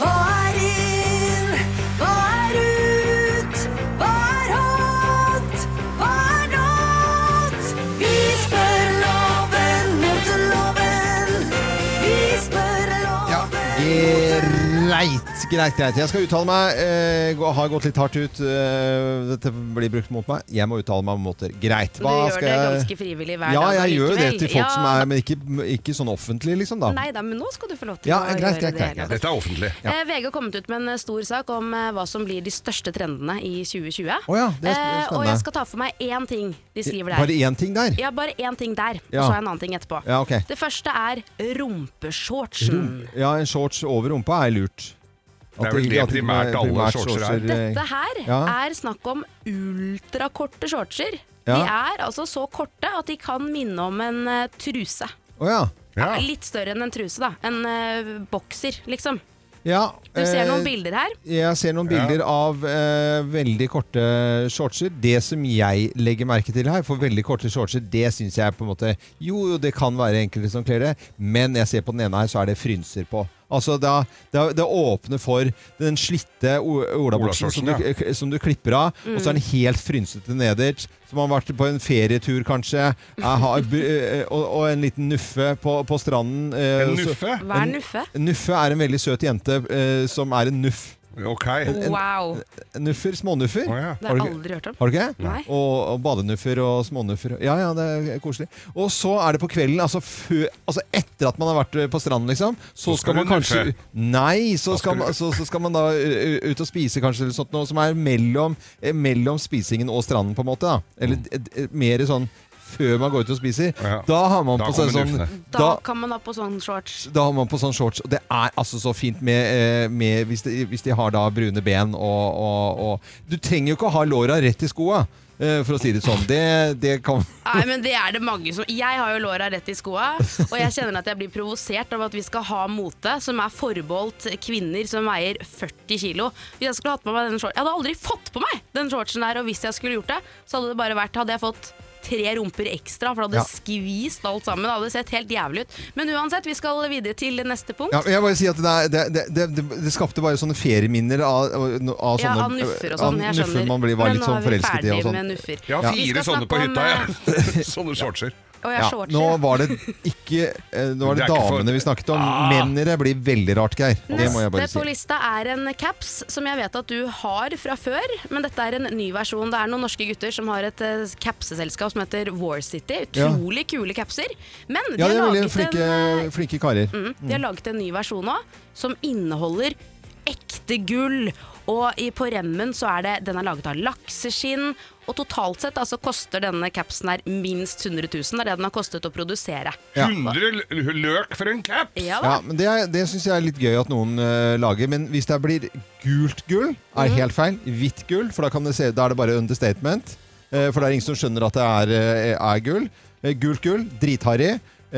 S5: Hva er inn? Hva er ut? Hva er hot? Hva er not? Vi spør loven, moteloven. Vi spør
S1: Greit,
S5: loven,
S1: greit, greit. Jeg skal uttale meg. Eh, gå- har gått litt hardt ut. Eh, dette blir brukt mot meg. Jeg må uttale meg om måter. Greit.
S3: Du gjør
S1: skal
S3: det
S1: jeg-
S3: ganske frivillig hver
S1: Ja,
S3: dag.
S1: jeg gjør jo det
S3: allikevel.
S1: til folk
S3: Ja,
S1: som er Men ikke, ikke sånn offentlig, liksom, da.
S3: Nei da, men nå skal du få lov til
S1: Ja,
S3: å
S1: greit, greit,
S3: gjøre det.
S1: greit, greit.
S2: Dette er offentlig.
S3: Eh, VG har kommet ut med en eh, stor sak om eh, hva som blir de største trendene i 2020.
S1: Å ja, det er sp-
S3: Eh, og
S1: spennende.
S3: jeg skal ta for meg én ting de skriver der.
S1: Bare én ting der?
S3: Ja, bare én ting der, og
S1: Ja.
S3: så har jeg en annen ting etterpå.
S1: Ja, ok.
S3: Det første er rumpeshortsen.
S1: Ja, en shorts over rumpa er lurt.
S2: Det er vel det primært alle shortser er.
S1: eh,
S3: Dette her
S1: Ja.
S3: er snakk om ultrakorte shortser. De
S1: Ja.
S3: er altså så korte at de kan minne om en eh, truse.
S1: Å ja.
S2: Ja.
S3: Ja, Litt større enn en truse, da. En eh, bokser, liksom.
S1: ja.
S3: Du ser
S1: eh,
S3: noen bilder her.
S1: Jeg ser noen bilder av eh, veldig korte shortser. Det som jeg legger merke til her, for veldig korte shortser, det syns jeg på en måte Jo, jo, det kan være enkelte som kler det, men jeg ser på den ene her, så er det frynser på. Altså, det, er- det, er- det åpner for den slitte o- olabuksen som,
S2: Olabuksen,
S1: du- k- som du klipper av, og så er
S3: Mm.
S1: den helt frynsete nederst. Som har vært på en ferietur, kanskje, er, har, bu- eh, og, og en liten nuffe på, på stranden. eh,
S2: En
S1: så-
S2: nuffe?
S3: Hva er nuffe?
S1: Nuffe er en veldig søt jente eh, som er en nuff.
S2: Ok.
S3: Wow.
S1: Nuffer, smånuffer.
S2: Å, ja.
S1: Har du
S3: Det har jeg
S1: ikke-
S3: aldri hørt om.
S1: Har du ikke?
S3: Nei.
S1: Og, og badenuffer og smånuffer. Ja, ja, det er koselig. Og så er det på kvelden, altså, fø, altså etter at man har vært eh, på stranden, liksom, så
S2: Så skal
S1: skal man
S2: du
S1: kanskje
S2: nuffe.
S1: Nei, så
S2: Da skal
S1: skal,
S2: du-
S1: man, så, så skal man da eh, ut og spise kanskje eller sånt noe som er mellom, eh, mellom spisingen og stranden, på en måte. da. Eller eh, eh, mer sånn før man går ut og spiser.
S2: Mm. Ja.
S1: Da har man
S2: Da
S1: på seg
S2: kommer
S1: sånn
S2: nuffene.
S3: Da kan man ha på sånn shorts.
S1: da har man på sånn shorts, og det er altså så fint med, eh, med hvis, de, hvis de har da brune ben og, og, og Du trenger jo ikke å ha låra rett i skoa, eh, for å si det sånn. Det, det kan
S3: Nei, men det er det mange som Jeg har jo låra rett i skoa, og jeg kjenner at jeg blir provosert av at vi skal ha mote som er forbeholdt kvinner som veier 40 kilo. Hvis jeg skulle hatt på meg den shortsen Jeg hadde aldri fått på meg den shortsen der, og hvis jeg skulle gjort det, så hadde det bare vært Hadde jeg fått tre rumper ekstra, for det hadde
S1: Ja.
S3: skvist alt sammen. Det hadde sett helt jævlig ut. Men uansett, vi skal videre til neste punkt.
S1: ja, men Jeg bare sier at det, er, det, det, det, det, det skapte bare sånne ferieminner av, av sånne
S3: ja, av nuffer og sånn.
S1: av
S3: Jeg
S1: nuffer
S3: skjønner.
S1: man blir, var litt sånn forelsket i og
S3: Men nå er vi ferdig
S1: sånn.
S3: med nuffer.
S2: Jeg har
S3: Vi
S2: fire
S3: skal
S2: sånne på
S3: snakke om,
S2: hytta,
S3: eh,
S2: jeg. Sånne shortser.
S3: Å, jeg
S1: Ja,
S3: har shorts,
S1: nå
S3: ja.
S1: var det ikke eh, Nå var det,
S2: Det er ikke for- Ah.
S1: damene vi snakket om. Mennene blir veldig rart, Geir. Det må jeg
S3: Neste
S1: bare
S3: på
S1: si.
S3: lista er en caps som jeg vet at du har fra før, men dette er en ny versjon. Det er noen norske gutter som har et eh, capseselskap som heter War City.
S1: Ja.
S3: Utrolig kule capser. Men de,
S1: Ja, de er
S3: har
S1: veldig
S3: laget
S1: flinke,
S3: en, eh,
S1: flinke karer.
S3: mm, de har laget en ny versjon òg, som inneholder ekte gull. Og i, på remmen så er det Den er laget av lakseskinn. Og totalt sett altså, koster denne capsen her minst 100 000. Det er det den har kostet å produsere.
S1: Ja.
S2: 100 l- løk for en caps!
S3: Ja da.
S1: Ja, men Det, er- det syns jeg er litt gøy at noen eh, lager. Men hvis det blir gult gull, er helt feil. Hvitt gull, for da, kan det se, da er det bare understatement. Eh, for det er ingen som skjønner at det er, eh, er gull. Eh, gult gull, dritharry.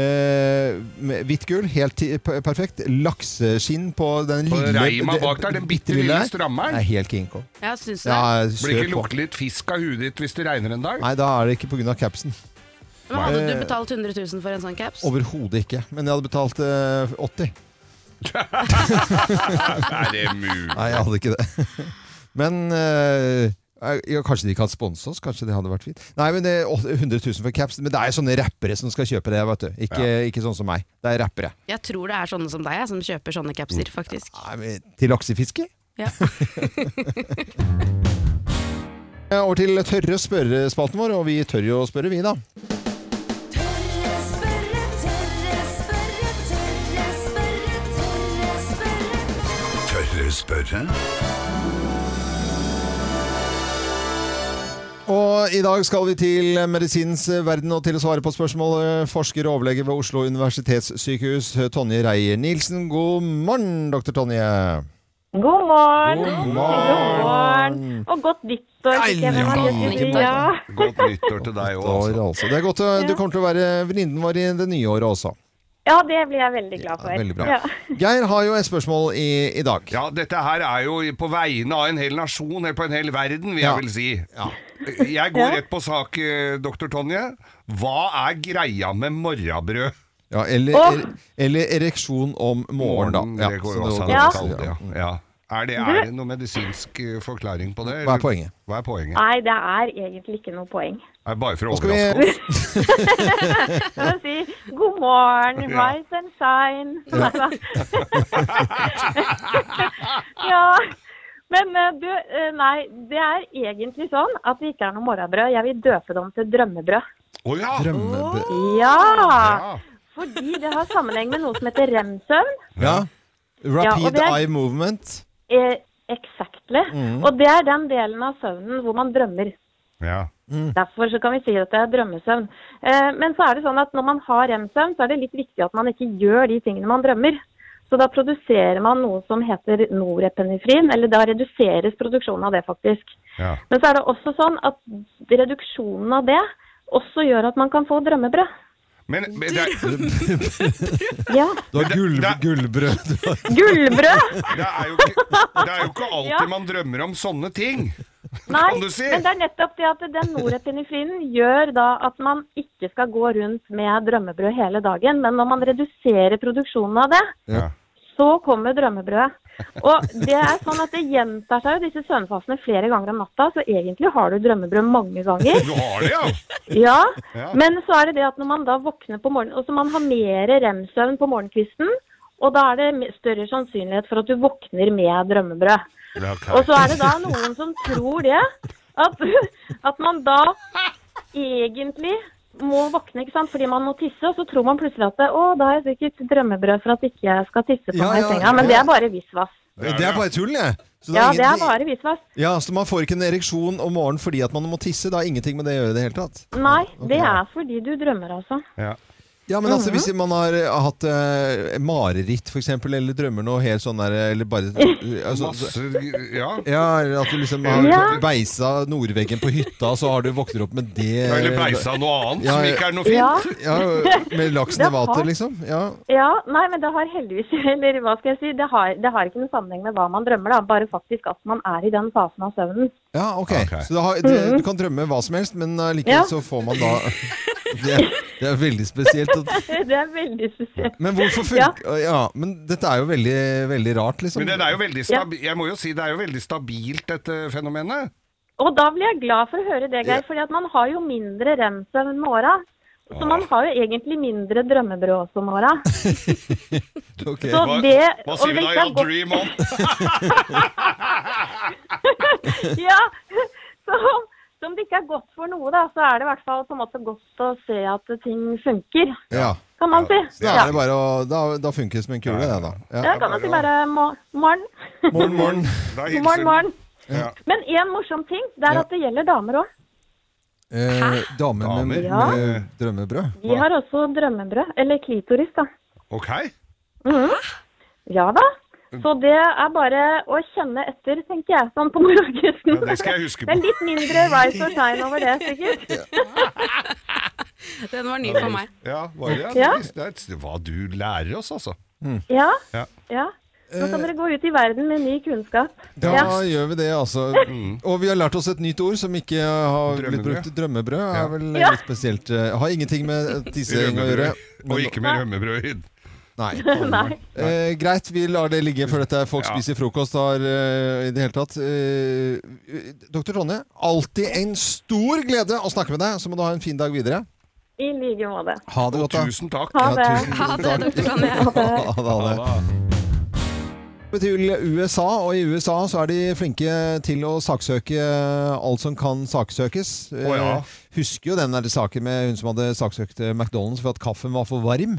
S1: Eh, med hvitt gull, helt ti- p- perfekt. Lakseskinn på den
S2: På
S1: lille
S2: reima bak der, den bitte lille
S1: her.
S2: strammeren.
S1: Det er helt king kong.
S3: Ja, syns du det?
S1: Ja,
S2: Blir
S1: kjør
S2: ikke
S1: på.
S2: lukte litt fisk av huet ditt hvis det regner en dag?
S1: Nei, da er det ikke pga. capsen.
S3: Men hadde
S1: Eh,
S3: du betalt 100 000 for en sånn caps?
S1: Overhodet ikke. Men jeg hadde betalt eh, 80.
S2: Er det mulig?
S1: Nei, jeg hadde ikke det. Men eh, ja, Kanskje de ikke hadde sponset oss? Kanskje det hadde vært fint? Nei, men det er åtte- 100 000 for caps. Men det er jo sånne rappere som skal kjøpe det. Vet du. Ikke, ikke sånn som meg. Det er rappere.
S3: Jeg tror det er sånne som deg jeg, som kjøper sånne capser, faktisk.
S1: Nei, men Til laksefiske?
S3: Ja.
S1: Eh, Over til tørre spørrespalten vår, og vi tør jo å spørre, vi, da.
S5: Tørre spørre, tørre spørre, tørre spørre, tørre spørre.
S6: Tørre spørre?
S1: Og i dag skal vi til medisinens verden og til å svare på spørsmål eh, forsker og overlege ved Oslo universitetssykehus, eh, Tonje Reier-Nielsen. God morgen, doktor Tonje.
S7: God morgen.
S1: God morgen.
S7: God morgen. Og godt nyttår.
S1: Nei,
S7: fikk jeg hvem har
S1: ja,
S7: lyst til å si.
S1: godt
S7: Ja.
S2: Godt nyttår til deg òg,
S1: Godt år,
S2: altså.
S1: altså. Det er godt å- Du kommer til å være venninnen vår i det nye året også.
S7: ja, det blir jeg veldig glad for.
S1: Ja, veldig bra.
S7: Ja.
S1: Geir har jo et spørsmål i, i dag.
S2: Ja, dette her er jo på vegne av en hel nasjon, eller på en hel verden, vil jeg
S1: Ja.
S2: vel si. Jeg går rett på sak, eh, doktor Tonje. Hva er greia med morrabrød?
S1: Ja, eller,
S7: Åh.
S1: er, eller ereksjon om morgenen, da. Ja,
S2: det går
S1: så
S2: jo
S1: det-
S2: også an
S1: det-
S2: å
S7: Ja.
S2: kalle det, ja. ja. Er det, er det noen medisinsk eh, forklaring på
S1: Hva er
S2: det? eller?
S1: poenget?
S2: Hva er poenget?
S7: Nei, det er egentlig ikke noe poeng.
S2: Er det bare for å
S1: Skal vi,
S2: overraske oss?
S7: Skal jeg si god morgen,
S2: Ja.
S7: rise and shine. ja. Men eh, du, eh, nei, det er egentlig sånn at det ikke er noe morgenbrød. Jeg vil døpe dem til drømmebrød.
S2: Å ja!
S1: drømmebe-
S7: Ja!
S2: ja!
S7: Fordi det har sammenheng med noe som heter rem-søvn.
S1: ja. Rapid
S7: det er-
S1: eye movement.
S7: Eh, Exactly. Og det er den delen av søvnen hvor man drømmer.
S2: ja.
S7: Derfor så kan vi si at det er drømmesøvn. Eh, men så er det sånn at når man har rem-søvn, så er det litt viktig at man ikke gjør de tingene man drømmer. Så da produserer man noe som heter norepenefrin, eller da reduseres produksjonen av det faktisk.
S2: ja.
S7: Men så er det også sånn at reduksjonen av det også gjør at man kan få drømmebrød.
S2: Men, men det, er,
S7: Ja.
S1: Du har
S2: det-
S1: gull,
S2: det-
S1: gullbrød. Du har-
S7: Gullbrød!
S2: det, er jo ikke, det er jo ikke alltid
S7: Ja.
S2: man drømmer om sånne ting.
S7: Nei,
S2: Kan du si?
S7: men det er nettopp det at den norepinefrinen gjør da at man ikke skal gå rundt med drømmebrød hele dagen. Men når man reduserer produksjonen av det,
S1: Ja.
S7: Så kommer drømmebrødet. Og det er sånn at det gjentar seg jo disse søvnfasene flere ganger om natta, så egentlig har du drømmebrød mange ganger.
S2: Du har det, ja!
S7: Ja,
S2: Ja.
S7: men så er det det at når man da våkner på morgenen, og så man har mer rem-søvn på morgenkvisten, og da er det me- større sannsynlighet for at du våkner med drømmebrød. Og så er det da noen som tror det, at, at man da egentlig må våkne, ikke sant, fordi man må tisse, og så tror man plutselig at det, å, da har jeg sikkert drømmebrød for at ikke jeg skal tisse på
S1: Ja,
S7: meg i
S1: ja,
S7: senga, men
S1: ja.
S7: det er bare visvas.
S2: Det er
S1: Det
S2: det,
S1: er
S2: ja.
S1: bare tull, det. Så
S7: Ja,
S1: ingen-
S7: det er bare visvas.
S1: ja, så man får ikke en ereksjon om morgenen fordi at man må tisse. Det har ingenting med det å gjøre i det hele tatt.
S7: Nei, det
S1: Ok.
S7: er fordi du drømmer, altså.
S2: Ja.
S1: Ja, men altså,
S7: Mhm.
S1: Hvis man har eh, hatt eh, mareritt, for eksempel, eller drømmer noe helt sånn der eh, Eller bare eh, altså, så-
S2: Masse Ja.
S1: Ja, eller at du liksom har
S7: Ja.
S1: beisa nordveggen på hytta, så har du våkner opp med det
S2: Eller beisa noe
S1: Eh,
S2: annet
S1: Ja,
S2: som
S1: ja.
S2: ikke er noe
S7: Ja.
S2: fint.
S1: Ja, Med laksen i
S7: Det har-
S1: vater, liksom. Ja.
S7: Ja, nei, men det har heldigvis Eller hva skal jeg si, det har, det har ikke noen sammenheng med hva man drømmer, da. Bare faktisk at man er i den fasen av søvnen.
S1: Ja, ok.
S2: Ok.
S1: Så det har, det, du kan drømme hva som helst, men allikevel
S7: Mm-hmm. Ja.
S1: så får man da det, det er veldig spesielt. At,
S7: Det er veldig spesielt.
S1: men hvorfor funker ja. men dette er jo veldig, veldig rart, liksom.
S2: Men det er jo veldig stabi jeg må jo si det er jo veldig stabilt, dette fenomenet.
S7: Og da blir jeg glad for å høre det,
S1: Ja.
S7: Geir, fordi at man har jo mindre rem-søvn med åra.
S1: Ah.
S7: Så man har jo egentlig mindre drømmebrød også med åra.
S1: Ok.
S7: Så
S2: Hva,
S7: det
S2: hva
S7: og
S2: sier vi da?
S7: hvis det er
S2: You'll
S7: godt-
S2: dream on.
S7: Ja, så så om det ikke er godt for noe, da, så er det i hvert fall på en måte godt å se at ting funker,
S1: Ja.
S7: kan man si.
S1: Så da
S7: Ja.
S1: er det bare å Da, da funker det som en kule, det, da.
S7: Ja,
S1: Ja.
S7: kan man si bare mo- morgen.
S1: Morgen, morgen.
S2: Da
S7: God
S2: hilser
S7: morgen,
S2: vi.
S7: morgen.
S2: Ja.
S7: Men en morsom ting, det er
S1: Ja.
S7: at det gjelder damer òg.
S1: Eh, damer med,
S2: Damer.
S7: Ja.
S1: med drømmebrød.
S7: De har også drømmebrød, eller klitoris, da.
S2: Ok.
S7: Ja da. Så det er bare å kjenne etter, tenker jeg, sånn på morgenkvisten.
S2: Ja, det skal jeg huske på.
S7: Det er litt mindre rise or shine over det, sikkert.
S3: Den var ny for meg.
S2: Ja, var det, ja.
S7: Ja.
S2: det er et- hva du lærer oss, altså.
S7: Ja.
S2: Ja.
S7: ja. Nå kan dere gå ut i verden med ny kunnskap.
S1: Da
S7: Ja.
S1: gjør vi det, altså. Og vi har lært oss et nytt ord som ikke har blitt
S2: Drømmebrød.
S1: brukt. Drømmebrød er vel
S7: Ja.
S1: litt spesielt. eh, Har ingenting med tissing å gjøre.
S2: Rømmebrød. Og ikke med rømmebrød.
S1: Nei.
S7: Nei.
S1: Eh, greit, vi lar det ligge før dette er folk
S2: Ja.
S1: spiser frokost har, eh, i det hele tatt. Eh, Dr. Ronje, alltid en stor glede å snakke med deg. Så må du ha en fin dag videre.
S7: I like måte.
S1: Ha det godt, da.
S2: Tusen takk.
S7: Ha det.
S1: Ha det,
S3: Dr. Ronje.
S1: Ha det, ha det. Til USA, og i USA så er de flinke til å saksøke alt som kan saksøkes.
S2: Å, ja.
S1: Eh, Husker jo den der saken med hun som hadde saksøkt McDonald's for at kaffen var for varm.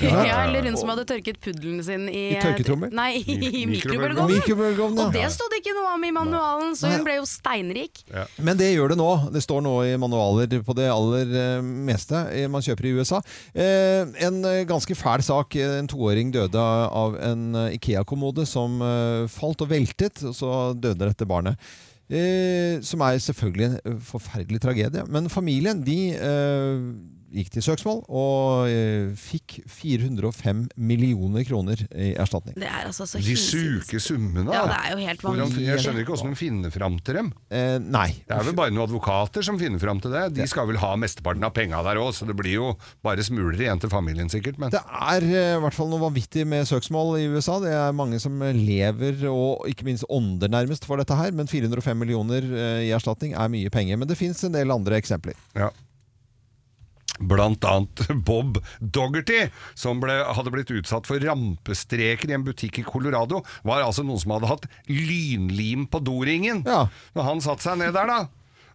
S3: Ja, eller hun som hadde tørket puddelen sin i,
S1: I tørketrommer?
S3: Nei, i
S2: mikrobølgeovn.
S3: mikrobølgeovnen.
S1: Mikrobølgeovnen,
S3: Og
S1: ja.
S3: det sto det ikke noe om i manualen, så
S1: Nei.
S3: hun ble jo steinrik.
S1: Men det gjør det nå. Det står nå i manualer på det aller eh, meste eh, man kjøper i USA. Eh, en eh, ganske fæl sak. En toåring døde av en eh, Ikea-kommode som eh, falt og veltet, og så døde dette barnet. Eh, som er selvfølgelig en eh, forferdelig tragedie. Men familien de eh, gikk til søksmål og eh, fikk 405 millioner kroner i erstatning.
S3: Det er altså så
S2: De
S3: hinsides.
S2: suke summene,
S3: Ja, det
S2: da.
S3: er jo helt
S2: Hvordan,
S3: vanvittig.
S2: jeg skjønner ikke åssen de finner fram til dem.
S1: Eh, nei.
S2: Det er vel bare noen advokater som finner fram til det. De skal vel ha mesteparten av penga der òg, så det blir jo bare smuler igjen til familien sikkert. Men
S1: Det er eh, i hvert fall noe vanvittig med søksmål i USA. Det er mange som lever og ikke minst ånder nærmest for dette her, men 405 millioner eh, i erstatning er mye penger. Men det fins en del andre eksempler.
S2: Ja. Blant annet Bob Doggerty, som ble, hadde blitt utsatt for rampestreker i en butikk i Colorado, var altså noen som hadde hatt lynlim på doringen.
S1: Ja.
S2: Når han satte seg ned der, da.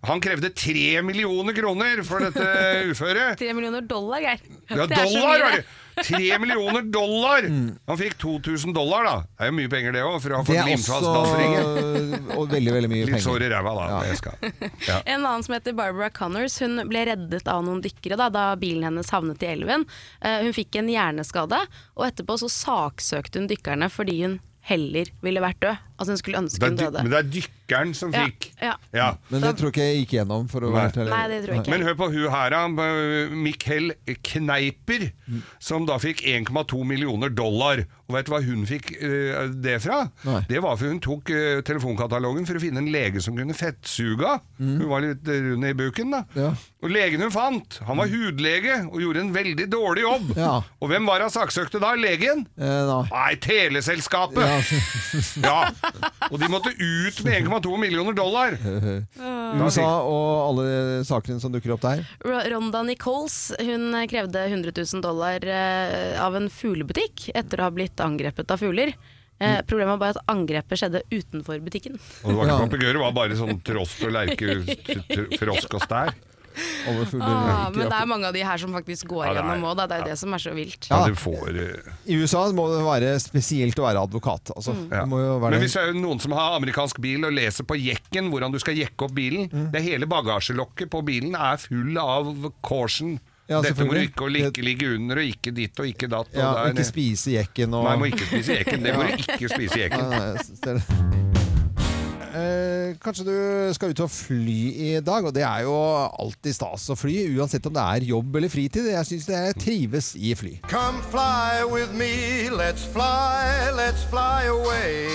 S2: Han krevde tre millioner kroner for dette uføret.
S3: Tre millioner dollar, Geir.
S2: Ja,
S3: Det er så
S2: dollar
S3: mye,
S2: var det! Tre millioner dollar! Han fikk 2000 dollar, da. Det er jo mye penger, det òg, for å ha
S1: Det
S2: fått
S1: er
S2: limfast dansringen.
S1: også og veldig, veldig mye
S2: Litt sår
S1: penger.
S2: i ræva, da. Det skal. Ja.
S3: En annen som heter Barbara Connors, hun ble reddet av noen dykkere da, da bilen hennes havnet i elven. Eh, Hun fikk en hjerneskade, og etterpå så saksøkte hun dykkerne fordi hun heller ville vært død. Altså hun skulle ønske
S2: Det er,
S3: hun
S2: dy-
S3: døde.
S2: men det er dykkeren som
S3: Ja,
S2: fikk.
S3: ja.
S2: Ja.
S1: Men det tror jeg ikke jeg gikk gjennom. For å
S2: Nei.
S1: være helt ærlig.
S3: Nei, det tror jeg ikke.
S2: Men hør på hun her, da. Mikkel Kneiper,
S1: Mm.
S2: som da fikk 1,2 millioner dollar. Og vet du hva hun fikk eh, det fra?
S1: Nei.
S2: Det var for hun tok eh, telefonkatalogen for å finne en lege som kunne fettsuga. Hun var litt eh, rund i buken, da.
S1: Mm. Ja. Mm.
S2: Og legen hun fant, han var hudlege og gjorde en veldig dårlig jobb.
S1: Ja.
S2: Og hvem var han saksøkte da? Legen?
S1: Eh, nei.
S2: Nei, teleselskapet!
S1: Ja,
S2: Ja. Og de måtte ut med 1,2 millioner dollar!
S3: Mm.
S1: USA og alle sakene som dukker opp der.
S3: Ro- Rhonda Nichols hun eh, krevde 100 000 dollar eh, av en fuglebutikk etter å ha blitt angrepet av fugler. Eh,
S2: Mm.
S3: problemet var bare at angrepet skjedde utenfor butikken.
S2: Og det var
S1: Ja.
S2: ikke papegøyer, det var bare sånn trost og lerke, tr- tr- frosk og stær.
S1: Alle fugler
S3: Ah,
S1: ryker
S3: men det
S1: opp.
S3: er mange av de her som faktisk går
S2: Ja, det er-
S3: gjennom òg, det er jo det som er så vilt.
S2: Ja.
S1: Ja.
S2: du får, eh,
S1: I USA må det være spesielt å være advokat. Altså.
S3: Mm.
S2: ja.
S1: Det må jo være
S2: Men hvis det er noen som har amerikansk bil og leser på jekken hvordan du skal jekke opp bilen
S1: Mm.
S2: Det hele bagasjelokket på bilen er full av caution.
S1: Ja,
S2: Dette må du
S1: selvfølgelig.
S2: ikke, og ikke ligge under, og ikke ditt og ikke datt. Og
S1: ja,
S2: der-
S1: Ikke spise jekken og
S2: Nei, må ikke spise jekken. Det må du ikke spise
S1: Nei,
S2: jekken.
S1: nei, jeg synes det er det. Eh, kanskje du skal ut og fly i dag, og det er jo alltid stas å fly, uansett om det er jobb eller fritid. Jeg syns jeg trives i fly.
S8: Come fly with me, let's fly, let's fly away.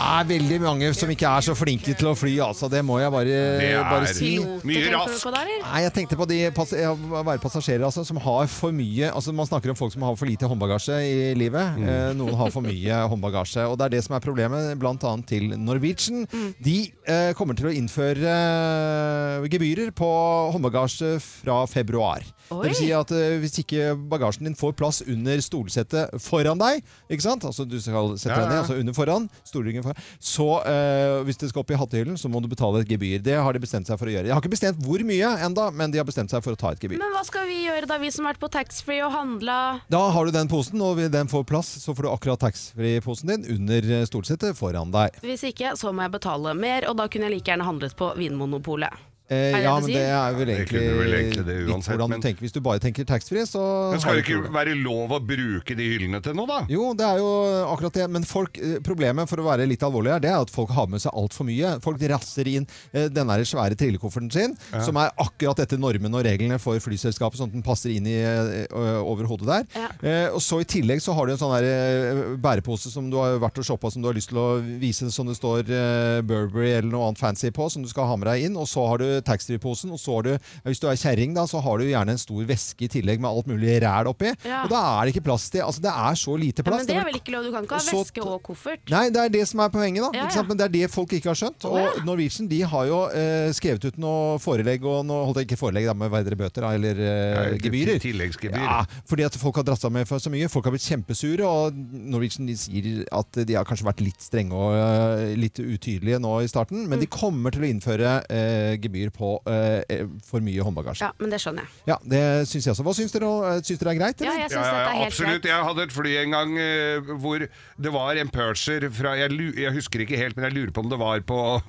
S1: Det er veldig mange som ikke er så flinke til å fly, altså. Det må jeg bare,
S2: Det er-
S1: bare si.
S3: Piloter
S2: Mye
S3: tenker du
S2: rask.
S3: på da, eller?
S1: Nei, jeg tenkte på de pass ja, være passasjerer altså, som har for mye altså Man snakker om folk som har for lite håndbagasje i livet. Eh, noen har for mye håndbagasje. Og det er det som er problemet, bl.a. til Norwegian. De eh, kommer til å innføre eh, gebyrer på håndbagasje fra februar.
S3: Oi.
S1: Det vil si at eh, hvis ikke bagasjen din får plass under stolsetet foran deg, ikke sant? altså du skal sette
S2: Ja,
S1: deg ned,
S2: ja.
S1: altså under foran, stolryggen foran, så eh, hvis det skal opp i hattehyllen, så må du betale et gebyr. Det har de bestemt seg for å gjøre. Jeg har ikke bestemt hvor mye enda, men de har bestemt seg for å ta et gebyr.
S3: Men hva skal vi gjøre da, vi som har vært på taxfree og handla?
S1: Da har du den posen, og hvis den får plass, så får du akkurat taxfree-posen din under eh, stolsetet foran deg.
S3: Hvis ikke, så må jeg betale mer, og da kunne jeg like gjerne handlet på Vinmonopolet.
S1: Eh, ja,
S3: Er det det
S1: men
S3: du
S1: det
S3: sier?
S1: er vel
S2: Det
S1: egentlig,
S2: kunne vel egentlig det
S1: litt
S2: uansett,
S1: hvordan
S2: men-
S1: du tenker. Hvis du bare tenker taxfree, så har
S2: Men skal
S1: du
S2: det ikke
S1: problem.
S2: være lov å bruke de hyllene til noe, da?
S1: Jo, det er jo akkurat det. Men folk, eh, problemet for å være litt alvorlig her, det er at folk har med seg altfor mye. Folk rasser inn eh, den der svære trillekofferten sin, som er akkurat etter normene og reglene for flyselskapet, sånn at den passer inn i, eh, ø- over hodet der. Eh, og så i tillegg så har du en sånn der eh, bærepose som du har vært og shoppa, som du har lyst til å vise som det står eh, Burberry eller noe annet fancy på, som du skal ha med deg inn. Og så har du taxfree-posen, og så har du, ja, hvis du er kjerring, da, så har du gjerne en stor veske i tillegg med alt mulig ræl oppi.
S3: Ja.
S1: Og da er det ikke plass til. Altså, det er så lite
S3: Ja,
S1: plass.
S3: men det er vel ikke lov, du kan ikke
S1: Og
S3: ha
S1: så-
S3: veske og koffert.
S1: Nei, det er det som er poenget, da.
S3: Ja,
S1: Ikke
S3: ja.
S1: sant? Men det er det folk ikke har skjønt.
S3: Å,
S1: Og
S3: ja.
S1: Norwegian de har jo eh, skrevet ut noe forelegg og noe Holdt jeg ikke forelegg, da, med verdere bøter da, eller eh,
S2: Ja,
S1: gebyrer.
S2: til- tilleggsgebyr.
S1: Ja, fordi at folk har dratt seg med for så mye. Folk har blitt kjempesure, og Norwegian de sier at de har kanskje vært litt strenge og eh, litt utydelige nå i starten, men
S3: Mm.
S1: de kommer til å innføre eh, gebyr på eh, eh, for mye håndbagasje.
S3: Ja, men det skjønner jeg.
S1: Ja, det syns jeg også. Hva syns dere? og- Syns dere det er greit?
S3: Ja,
S1: Eller?
S3: jeg synes dette er helt
S2: absolutt.
S3: greit.
S2: Jeg hadde et fly en gang eh, hvor det var en purser fra jeg, lu- jeg husker ikke helt, men jeg lurer på om det var på,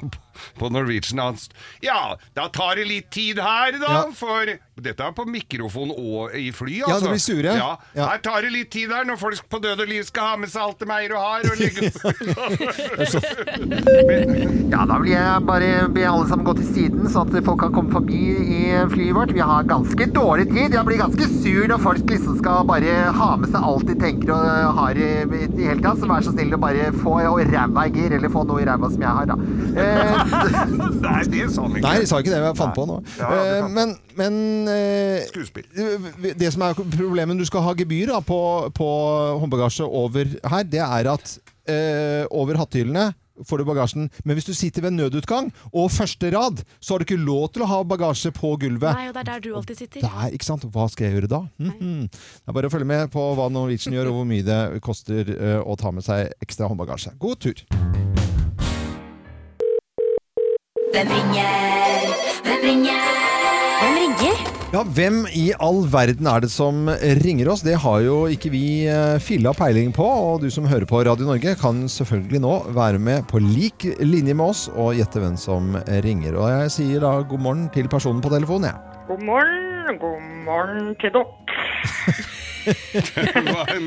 S2: på Norwegian. Han, s- ja, da tar det litt tid her, da,
S1: Ja.
S2: for Dette er på mikrofon og i fly,
S1: Ja,
S2: altså.
S1: de blir sure.
S2: Ja.
S1: Ja.
S2: Her tar det litt tid her, når folk på død og liv skal ha med seg alt de eier og har. Og legge
S1: Ja, da vil jeg bare be alle sammen gå til siden, så at folk kan komme forbi i flyet vårt. Vi har ganske dårlig tid. Jeg blir ganske sur når folk liksom skal bare ha med seg alt de tenker og har i, i det hele tatt. Så vær så snill å bare få og ræva i gir, eller få noe i ræva som jeg har, da. Eh,
S2: Nei, det sa han ikke.
S1: Nei, jeg sa ikke det. Jeg fant på nå. Eh, men men eh,
S2: Skuespill.
S1: Det som er problemet når du skal ha gebyr da, på, på håndbagasje over her, det er at eh, over hattehyllene får du bagasjen. Men hvis du sitter ved nødutgang og første rad, så har du ikke lov til å ha bagasje på gulvet.
S3: Nei, og det er der du alltid sitter.
S1: Der, ikke sant? Hva skal jeg gjøre da? Mhm. Det er bare å følge med på hva Norwegian gjør, og hvor mye det koster eh, å ta med seg ekstra håndbagasje. God tur!
S9: Hvem ringer? Hvem ringer? Hvem ringer?
S1: Ja, Hvem i all verden er det som ringer oss? Det har jo ikke vi eh, filla peiling på. Og du som hører på Radio Norge, kan selvfølgelig nå være med på lik linje med oss og gjette hvem som ringer. Og jeg sier da god morgen til personen på telefonen, jeg.
S10: God morgen, god morgen til dere.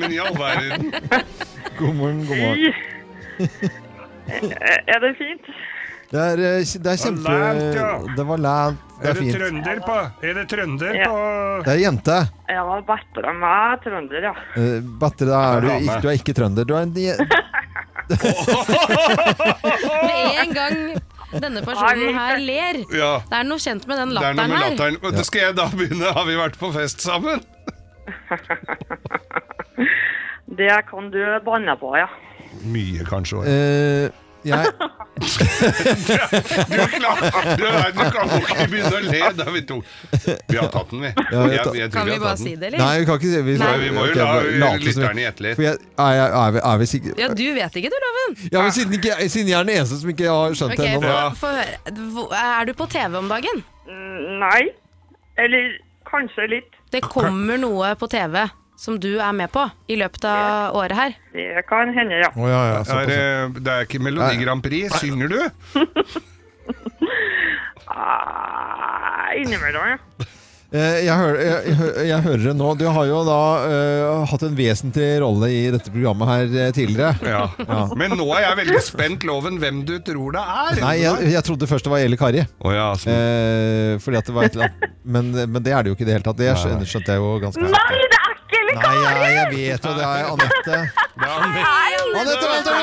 S2: Men i all verden.
S1: God morgen, god
S10: Hei. Eh, Er det fint?
S1: Det er, eh, det er kjempe...
S2: lavt, ja.
S1: Det var lavt. Det
S2: Er
S1: er
S2: det
S1: fint.
S2: trønder på? Er det trønder
S10: Ja.
S2: på
S1: Det er jente.
S10: Ja, bedre enn meg, trønder, ja.
S1: Eh, Batter, da er du,
S2: Ja,
S1: ikke,
S2: men-
S1: du er ikke trønder. Du er en
S3: Med en gang denne personen her ler.
S2: Ja.
S3: Det er noe kjent med den
S2: Det er noe
S3: latteren
S2: med
S3: her.
S2: latteren. Det skal jeg da begynne. Har vi vært på fest sammen?
S10: Det kan du banne på, ja.
S2: Mye, kanskje. også.
S1: Eh, jeg,
S2: Du, er klar. du, er, du kan jo ikke begynne å le. Da er vi to. Vi har tatt den, vi.
S1: Ja, vi har tatt-
S2: tror
S3: Kan vi
S2: har
S3: bare
S2: tatt den.
S3: si det, eller?
S1: nei, vi kan ikke si vi,
S2: Nei, vi må jo
S1: ok,
S2: la
S1: bare late som vi-
S2: lytterne gjette litt.
S1: For jeg, er, jeg, er, vi, er vi sikre
S3: Ja, du vet ikke du, Loven.
S1: Ja, men siden, ikke, siden jeg er den eneste som ikke har skjønt
S3: Ok,
S1: det ennå.
S3: få,
S1: da.
S2: Ja.
S3: få høre. Hvor- Er du på TV om dagen?
S10: Mm, Nei. Eller kanskje litt.
S3: Det kommer noe på TV som du er med på i løpet av året her.
S10: Det kan hende, ja.
S1: Å, ja, ja,
S2: Er, eh,
S1: såpass.
S2: det- det er ikke Melodi Grand Prix. Synger du?
S10: Ah, Innimellom, ja.
S1: Eh, jeg, hører, jeg, jeg hø- jeg hører det nå. Du har jo da eh, hatt en vesentlig rolle i dette programmet her eh, tidligere.
S2: Ja. Men nå er jeg veldig spent, Loven, hvem du tror det er.
S1: Nei, jeg, jeg trodde først det var Eli Kari.
S2: Å ja, sånn.
S1: Eh, fordi at det var et eller annet men, men det er det jo ikke i det hele tatt. Det skjønte, skjønte jeg jo ganske
S10: Nei, det er ikke Eli
S1: Nei,
S10: Kari!
S1: jeg, jeg vet jo det er Anette.
S2: Det er han.
S1: Anette Walter!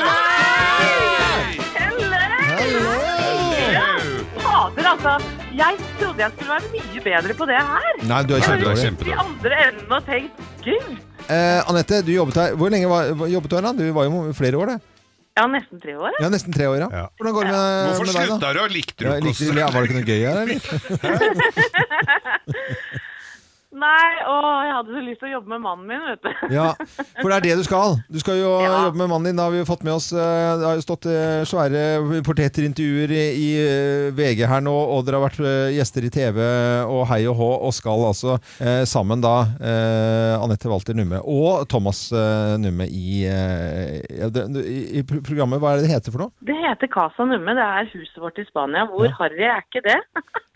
S10: Helle!
S1: Hello!
S5: Fader, altså. Jeg trodde jeg skulle være mye bedre på det her.
S1: Nei, du er
S2: Nei, du er
S1: kjempedårlig.
S5: De
S2: kjempedårlig.
S5: andre enden har tenkt gud.
S1: Eh, Anette, du jobbet her Hvor lenge var, jobbet du her? da? Du var jo flere år, det.
S5: Ja, nesten tre år.
S1: Ja, Nesten tre år, ja.
S2: Ja.
S1: Hvordan går det med,
S2: Hvorfor
S1: med deg, da?
S2: slutta du å like
S1: Ja,
S2: Drukos?
S1: likte, ja, var det ikke noe gøy her, eller?
S5: Nei, og jeg hadde så lyst til å jobbe med mannen min, vet du.
S1: Ja, for det er det du skal. Du skal jo
S5: Ja.
S1: jobbe med mannen din. Da har vi jo fått med oss eh, Det har jo stått eh, svære portretterintervjuer i i, eh, VG her nå, og dere har vært eh, gjester i TV og hei og hå, og skal altså eh, sammen da eh, Anette Walter Numme og Thomas eh, Numme i, eh, ja, det- i, i pro- programmet Hva er det det heter for noe?
S5: Det heter Casa Numme. Det er huset vårt i Spania. Hvor harry er ikke det?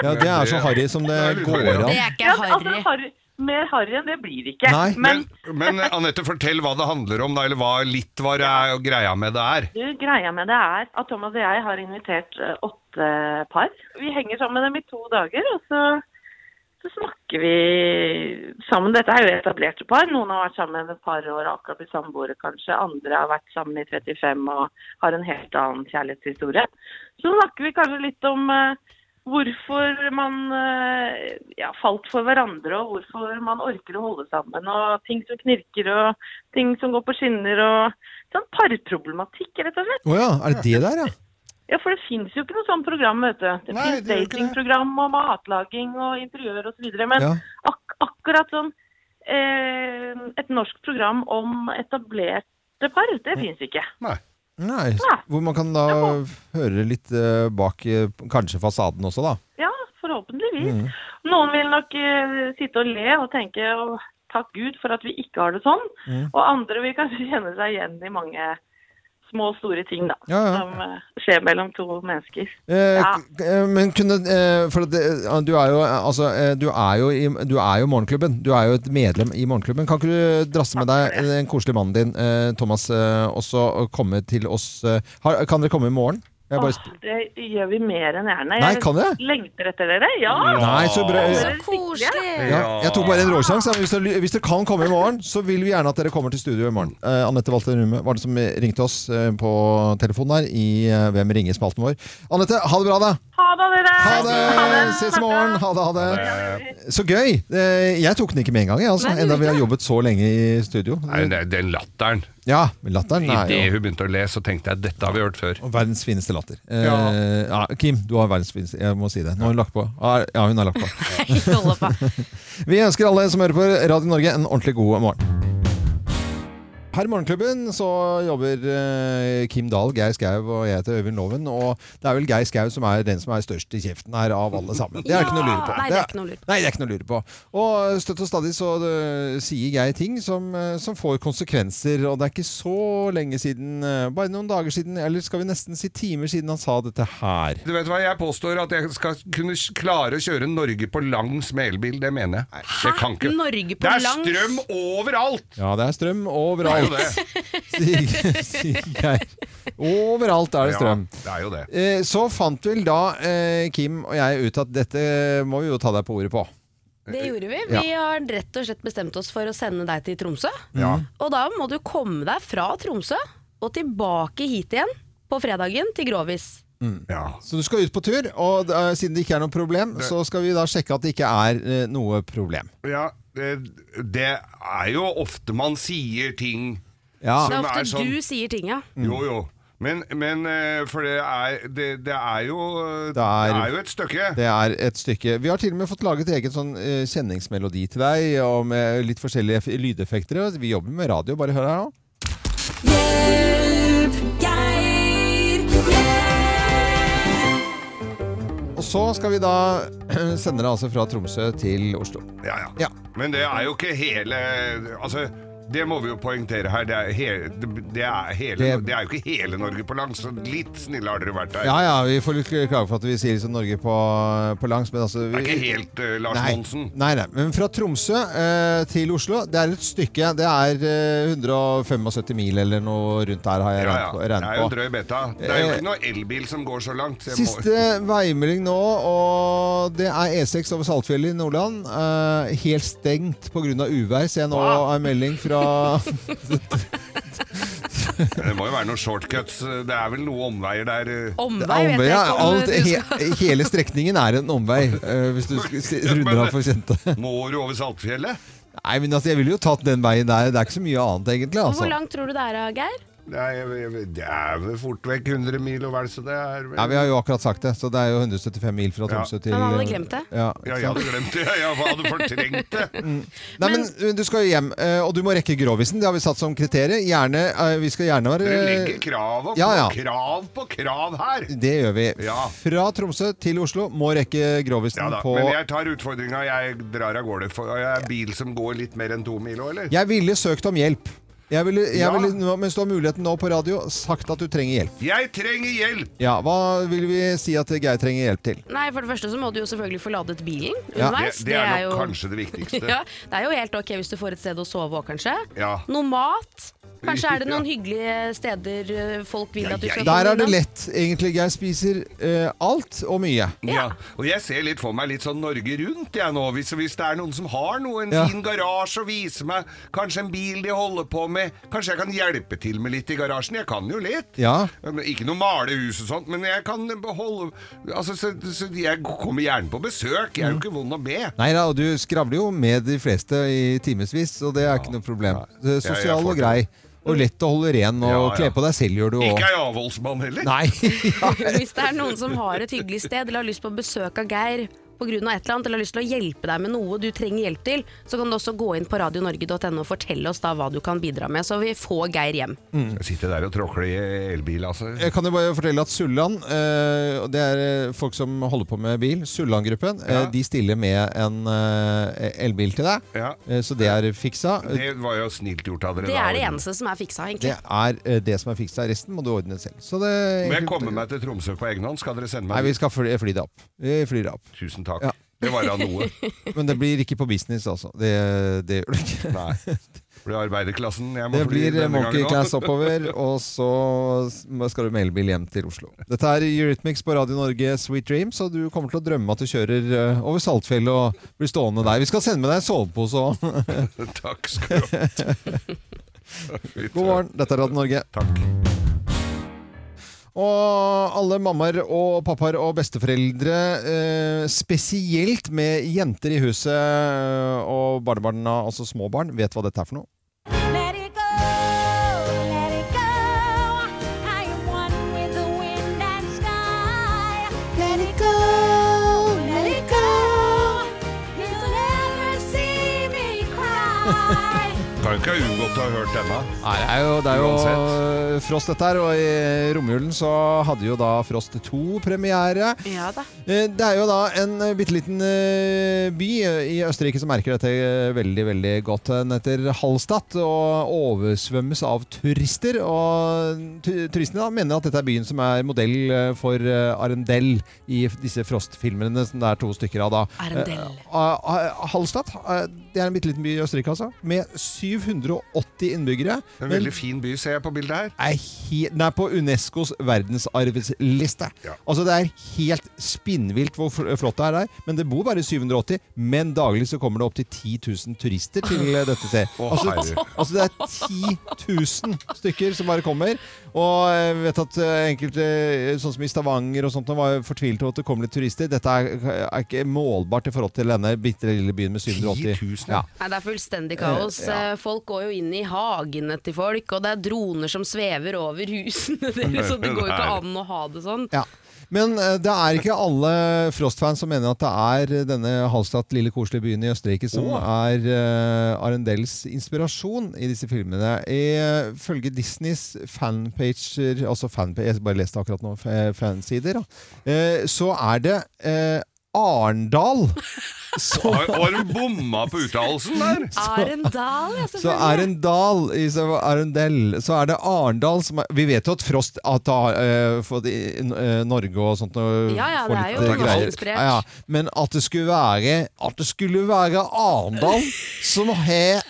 S1: Ja, Det er så harry som det
S2: Det er litt
S1: går
S2: harry, ja.
S1: an.
S3: Det er ikke
S5: Ja, altså,
S3: harry.
S5: harry. Mer harry enn det blir det ikke.
S1: Nei.
S5: Men
S2: Men, men eh, Anette, fortell hva det handler om, da, eller hva litt hva det er, og greia med det er.
S5: Du, greia med det er at Thomas og jeg har invitert eh, åtte par. Vi henger sammen med dem i to dager, og så, så snakker vi sammen. Dette er jo etablerte par. Noen har vært sammen et par år, akkurat blitt samboere kanskje. Andre har vært sammen i 35 og har en helt annen kjærlighetshistorie. Så snakker vi kanskje litt om eh, hvorfor man eh, ja, falt for hverandre, og hvorfor man orker å holde sammen, og ting som knirker, og ting som går på skinner, og sånn parproblematikk, rett og slett.
S1: Å ja, er det det der, ja?
S5: Ja, for det finnes jo ikke noe sånt program, vet du. Det
S2: Nei,
S5: finnes
S2: det gjør ikke det.
S5: datingprogram og matlaging og interiør osv. Men
S1: Ja.
S5: ak akkurat sånn eh, et norsk program om etablerte par, det finnes ikke.
S2: Nei.
S1: Nei, hvor man kan da høre litt eh, bak eh, kanskje fasaden også, da. Mm.
S5: Ja, forhåpentligvis.
S2: Mm.
S5: Noen vil nok eh, sitte og le og tenke «Åh, takk Gud for at vi ikke har det sånn.
S2: Mm.
S5: Og andre vil kanskje kjenne seg igjen i mange små og store ting da,
S1: Ja, ja.
S5: som eh, skjer mellom to mennesker.
S1: Eh,
S5: Ja.
S1: k- eh, Men kunne eh, For at det, eh, du er jo eh, Altså, eh, du er jo, i, du er jo Morgenklubben. Du er jo et medlem i Morgenklubben. Kan ikke du drasse med deg eh, den koselige mannen din, eh, Thomas, eh, også og komme til oss eh, har, Kan dere komme i morgen? Jeg bare,
S5: Åh, det gjør vi mer enn gjerne.
S1: Nei, kan det?
S5: lengter etter dere. Ja!
S1: sp- nei, så bra.
S3: Så koselig.
S1: Ja, jeg tok bare en råsjanse. Hvis, dere- hvis dere kan komme i morgen, så vil vi gjerne at dere kommer til studio i morgen. Eh, Anette Walter Numme var det som ringte oss eh, på telefonen her i eh, Hvem ringer-spalten vår. Anette, ha det bra, da!
S5: Ha det, dere!
S1: Ha det! Ses i morgen! Ha det, ha det. Så gøy! Eh, Jeg tok den ikke med en gang, jeg, altså.
S3: Nei, du
S1: Enda vi har
S3: ikke.
S1: jobbet så lenge i studio.
S2: Nei, det er den latteren.
S1: Ja, men latteren er
S2: Idet
S1: jo
S2: hun begynte å le, så tenkte jeg dette har vi hørt før.
S1: og verdens fineste latter. Eh,
S2: Ja.
S1: ja, Kim, du har verdens fineste Jeg må si det. Nå har hun lagt på. Ja, hun har lagt på.
S3: Hold opp, da.
S1: Vi ønsker alle som hører på Radio Norge, en ordentlig god morgen. Her i Morgenklubben så jobber eh, Kim Dahl, Geir Skau og jeg heter Øyvind Loven. Og det er vel Geir Skau som er den som er størst i kjeften her av alle sammen. Det er ikke noe å lure på.
S3: Nei, det er ikke noe å lure på.
S1: Nei, det er ikke noe å lure på. Og støtt og stadig så øh, sier Geir ting som, øh, som får konsekvenser, og det er ikke så lenge siden, øh, bare noen dager siden, eller skal vi nesten si timer siden han sa dette her.
S2: Du vet hva, Jeg påstår at jeg skal kunne s- klare å kjøre Norge på langs med elbil. Det mener jeg. Det kan ikke.
S3: Ah, Norge på
S2: Det er
S3: langs?
S2: strøm overalt!
S1: Ja, det er strøm
S2: Det er jo
S1: overalt,
S2: det.
S1: sier sier Geir. Overalt er det strøm.
S2: Ja, det er jo det.
S1: Eh, Så fant vel da eh, Kim og jeg ut at dette må vi jo ta deg på ordet på.
S3: Det gjorde vi.
S1: Ja.
S3: Vi har rett og slett bestemt oss for å sende deg til Tromsø.
S1: Ja.
S3: Og da må du komme deg fra Tromsø og tilbake hit igjen på fredagen til Grovis.
S1: Så du skal ut på tur, og eh, siden det ikke er noe problem, så skal vi da sjekke at det ikke er eh, noe problem.
S2: Ja, det, det er jo ofte man sier ting
S1: Ja.
S3: det er ofte
S2: sånn-
S3: du sier ting, ja.
S2: Jo, jo. Men, men eh, for det er, det, det er jo
S1: Det er-
S2: det er jo et stykke.
S1: Det er et stykke. Vi har til og med fått laget eget sånn eh, kjenningsmelodi til deg, og med litt forskjellige f- lydeffekter. og Vi jobber med radio, bare hør her nå.
S9: Hjelp, Geir,
S1: Og så skal vi da sende deg altså fra Tromsø til Oslo.
S2: Ja, ja. Men det er jo ikke hele Altså, det må vi jo poengtere her. Det er, hele, det er, hele,
S1: Det-
S2: det er jo ikke hele Norge på langs, så litt snille har dere vært her.
S1: Ja ja, vi får litt klage for at vi sier liksom Norge på, på langs, men altså
S2: Det er
S1: vi-
S2: ikke helt eh, Lars
S1: Nei.
S2: Monsen.
S1: Nei, nei, men fra Tromsø eh, til Oslo, det er et stykke. Det er eh, 175 mil eller noe rundt der, har jeg
S2: Ja,
S1: regnet
S2: ja.
S1: på.
S2: Det
S1: regnet
S2: er jo
S1: på.
S2: drøy beta. Det er jo
S1: Eh,
S2: ikke noe elbil som går så langt. så jeg må-
S1: Siste veimelding nå, og det er E6 over Saltfjellet i Nordland. Eh, helt stengt pga. uvær, ser jeg nå er melding fra
S2: Det må jo være noen shortcuts. Det er vel noe omveier der. eh.
S3: Omvei, vet jeg
S1: ja.
S3: ikke om
S1: Alt,
S3: du skal-
S1: he, hele strekningen er en omvei, eh, hvis du sk- s- runder av for kjente.
S2: Må du over Saltfjellet?
S1: Nei, men altså, jeg ville jo tatt den veien der. Det er ikke så mye annet, egentlig.
S3: Hvor
S1: Altså.
S3: langt tror du det er, Geir?
S2: Nei, jeg- jeg- det er vel fort vekk 100 mil og vel så det er vel-
S1: Ja, vi har jo akkurat sagt det, så det er jo 175 mil fra Tromsø til
S3: Men han hadde glemt det.
S1: Ja,
S2: Ja,
S1: ikke
S2: jeg
S1: sant?
S2: hadde glemt det. Jeg hadde fortrengt det.
S1: Nei, men, Du skal jo hjem, eh, og du må rekke Grovisen. Det har vi satt som kriterium. Gjerne, eh, vi skal gjerne være
S2: Dere legger krav og
S1: Ja, ja.
S2: krav på krav her.
S1: Det gjør vi.
S2: Ja.
S1: Fra Tromsø til Oslo må rekke Grovisen
S2: Ja da,
S1: på
S2: Men
S1: jeg...
S2: jeg tar utfordringa. Jeg drar av gårde. For jeg er bil som går litt mer enn to mil òg, eller?
S1: ville søkt om hjelp. Jeg ville, jeg
S2: Ja.
S1: ville, nå- mens du har muligheten nå på radio, sagt at du trenger hjelp.
S2: Jeg trenger hjelp!
S1: Ja, Hva vil vi si at Geir trenger hjelp til?
S3: Nei, for det første så må du jo selvfølgelig få ladet bilen
S1: Ja.
S2: Det,
S3: underveis.
S2: det er nok
S3: jo-
S2: kanskje det viktigste.
S3: Ja, det er jo helt ok hvis du får et sted å sove òg, kanskje.
S2: Ja.
S3: Noe mat. Kanskje er det noen
S2: Ja.
S3: hyggelige steder eh, folk vil
S2: Ja,
S3: at du skal
S2: jeg-
S1: Der er det
S3: innom.
S1: lett, egentlig. Geir spiser eh, alt og mye.
S2: Ja. Og jeg ser litt for meg litt sånn Norge Rundt jeg nå, hvis, hvis det er noen som har noe, en
S1: Ja.
S2: fin garasje å vise meg, kanskje en bil de holder på med, kanskje jeg kan hjelpe til med litt i garasjen, jeg kan jo litt.
S1: Ja.
S2: Men Ikke noe male hus og sånt, men jeg kan beholde Altså, så, så jeg kommer gjerne på
S1: Mm.
S2: besøk, jeg er jo ikke vond å be.
S1: Nei da, og du skravler jo med de fleste i timevis, og det er ikke noe problem. Du er
S2: Jeg- jeg
S1: Sosial
S2: får
S1: og grei, og lett å holde ren, og
S2: Ja, ja.
S1: kle på deg selv gjør du òg.
S2: Ikke er jeg avholdsmann heller.
S1: Nei. ja.
S3: Hvis det er noen som har et hyggelig sted eller har lyst på besøk av Geir på grunn av et eller annet, eller har lyst til å hjelpe deg med noe du trenger hjelp til, så kan du også gå inn på radionorge.no og fortelle oss da hva du kan bidra med, så vi får Geir hjem.
S2: Jeg sitter der og tråkler i elbil, altså.
S1: Jeg kan jo bare fortelle at Sulland, eh, og det er eh, folk som holder på med bil, Sulland-gruppen, eh,
S2: Ja.
S1: de stiller med en eh, elbil til deg.
S2: Ja.
S1: Eh, så det er fiksa.
S2: Det var jo snilt gjort av dere.
S3: Det
S2: da.
S3: er det eneste som er fiksa,
S1: Det
S3: egentlig.
S1: er eh, det som er fiksa. Resten må du ordne selv. Så det
S2: Må jeg komme meg til Tromsø på egen hånd? Skal dere sende
S1: Nei,
S2: meg
S1: vi skal fly, fly det opp. Vi flyr det opp.
S2: Tusen takk.
S1: Ja.
S2: Det var da noe.
S1: Men det blir ikke på business, altså. Det, det gjør det ikke.
S2: Nei. Blir arbeiderklassen jeg må
S1: Det
S2: fly
S1: blir eh,
S2: denne
S1: monkey
S2: gangen
S1: class
S2: også.
S1: oppover, og så skal du med elbil hjem til Oslo. Dette er Eurythmics på Radio Norge Sweet Dreams, og du kommer til å drømme at du kjører eh, over Saltfjellet og blir stående der. Vi skal sende med deg en sovepose òg.
S2: Takk skal du ha. Fy
S1: God morgen, dette er Radio Norge.
S2: Takk.
S1: Og alle mammaer og pappaer og besteforeldre, eh, spesielt med jenter i huset eh, og barnebarna, altså små barn, vet hva dette er for noe.
S9: Let it go, let it go. I am one with the wind and sky. Let it go, let it go. You'll never see me cry.
S2: Kan ikke ha unngått å ha hørt denne.
S1: Nei, det er jo, det er jo
S2: Uansett.
S1: Frost dette her, og i romjulen så hadde jo da Frost 2 premiere.
S3: Ja da.
S1: Eh, Det er jo da en eh, bitte liten eh, by eh, i Østerrike som merker dette eh, veldig, veldig godt. Den heter Hallstatt og oversvømmes av turister. Og tu- turistene da mener at dette er byen som er modell eh, for eh, Arendelle i f- disse Frost-filmene som det er to stykker av da.
S3: Arendelle.
S1: Eh, ah, ah, Hallstatt, eh, det er en bitte liten by i Østerrike altså, med 700 180 innbyggere.
S2: En veldig fin by, ser jeg på bildet her.
S1: Er he den er på Unescos verdensarvsliste. Altså Det er helt spinnvilt hvor fl- flott det er der. Men det bor bare 780. Men daglig så kommer det opptil 10 000 turister til eh, dette stedet.
S2: Å,
S1: Altså,
S2: herre.
S1: altså det er 10 000 stykker som bare kommer. Og jeg vet at eh, enkelte, eh, sånn som i Stavanger og sånt, nå var jo fortvilet over at det kom litt turister. Dette er, er ikke målbart i forhold til denne bitte lille byen med 780.
S2: 10 000,
S1: ja.
S3: Nei, det er fullstendig kaos.
S1: Eh, ja.
S3: Eh, Folk går jo inn i hagene til folk, og det er droner som svever over husene deres, så det går jo ikke
S1: Nei.
S3: an å ha det sånn.
S1: Ja. Men eh, det er ikke alle Frost-fans som mener at det er denne Hallstatt, lille koselige byen i Østerrike, som er eh, Arendells inspirasjon i disse filmene. Ifølge Disneys fanpager, altså fanpa- jeg bare leste akkurat nå, fa- fansider, da, eh, så er det eh, Arendal som
S2: Har, har du bomma på uttalelsen der?
S3: Arendal, ja,
S1: så
S3: selvfølgelig.
S1: Arendal i så- Arendell, så er det Arendal som er, Vi vet jo at Frost at det har eh, fått i, eh, Norge og sånt og
S3: Ja, ja,
S1: får
S3: det er
S1: litt,
S3: jo
S1: eh, greier.
S3: norsk-inspirert.
S1: Ja, ja. Men at det skulle være At det skulle være Arendal som har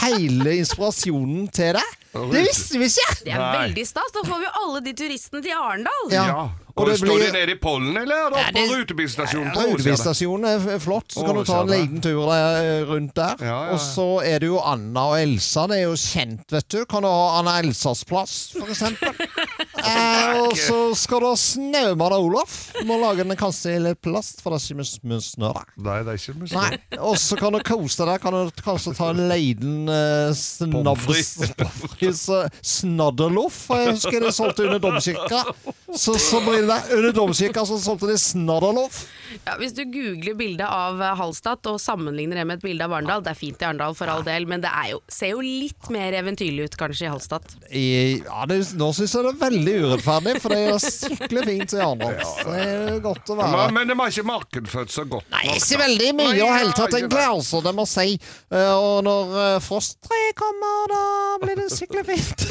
S1: hele inspirasjonen til deg, det visste vi ikke!
S3: Det er veldig stas. Da får vi jo alle de turistene til Arendal.
S1: Ja. Og
S2: Og
S1: det
S2: Står
S1: blir-
S2: de nede i pollen, eller er det oppe på rutebilstasjonen? på Åsane?
S1: Rutebilstasjonen er f- flott, så kan
S2: Å,
S1: du ta en
S2: se der.
S1: liten tur der, eh, rundt der.
S2: ja, ja.
S1: Og så er det jo Anna og Elsa, det er jo kjent, vet du. Kan du ha Anna Elsas plass, for eksempel? eh, og så skal du ha Snømann og Olaf. Du må lage den kanskje i litt plast, for det er ikke mye- mye snø der.
S2: Nei, det er ikke musikk.
S1: Nei, og så kan du kose deg. Kan du kanskje ta en liten eh, snabbes-
S2: Pommes frites.
S1: pommes frites, eh, snadderloff? for Jeg husker de solgte under domkirka. Så, så blir det der. Under domkirka så solgte de snadderloff.
S3: Ja, hvis du googler bildet av eh, Hallstatt og sammenligner det med et bilde av Arendal, det er fint i Arendal for all del, men det er jo, ser jo litt mer eventyrlig ut kanskje i Hallstatt.
S1: I, ja, det, nå syns jeg det er veldig urettferdig, for det er skikkelig fint i Arendal. Så Det er jo godt å være
S2: Men, men de har ikke markedsført så godt
S1: Nei,
S2: nok,
S1: ikke
S2: da.
S1: veldig mye i det
S2: Nei,
S1: hele tatt,
S2: ja, ikke
S1: egentlig, altså, det må jeg si. Eh, Og når eh, frosttreet kommer, da blir det skikkelig fint.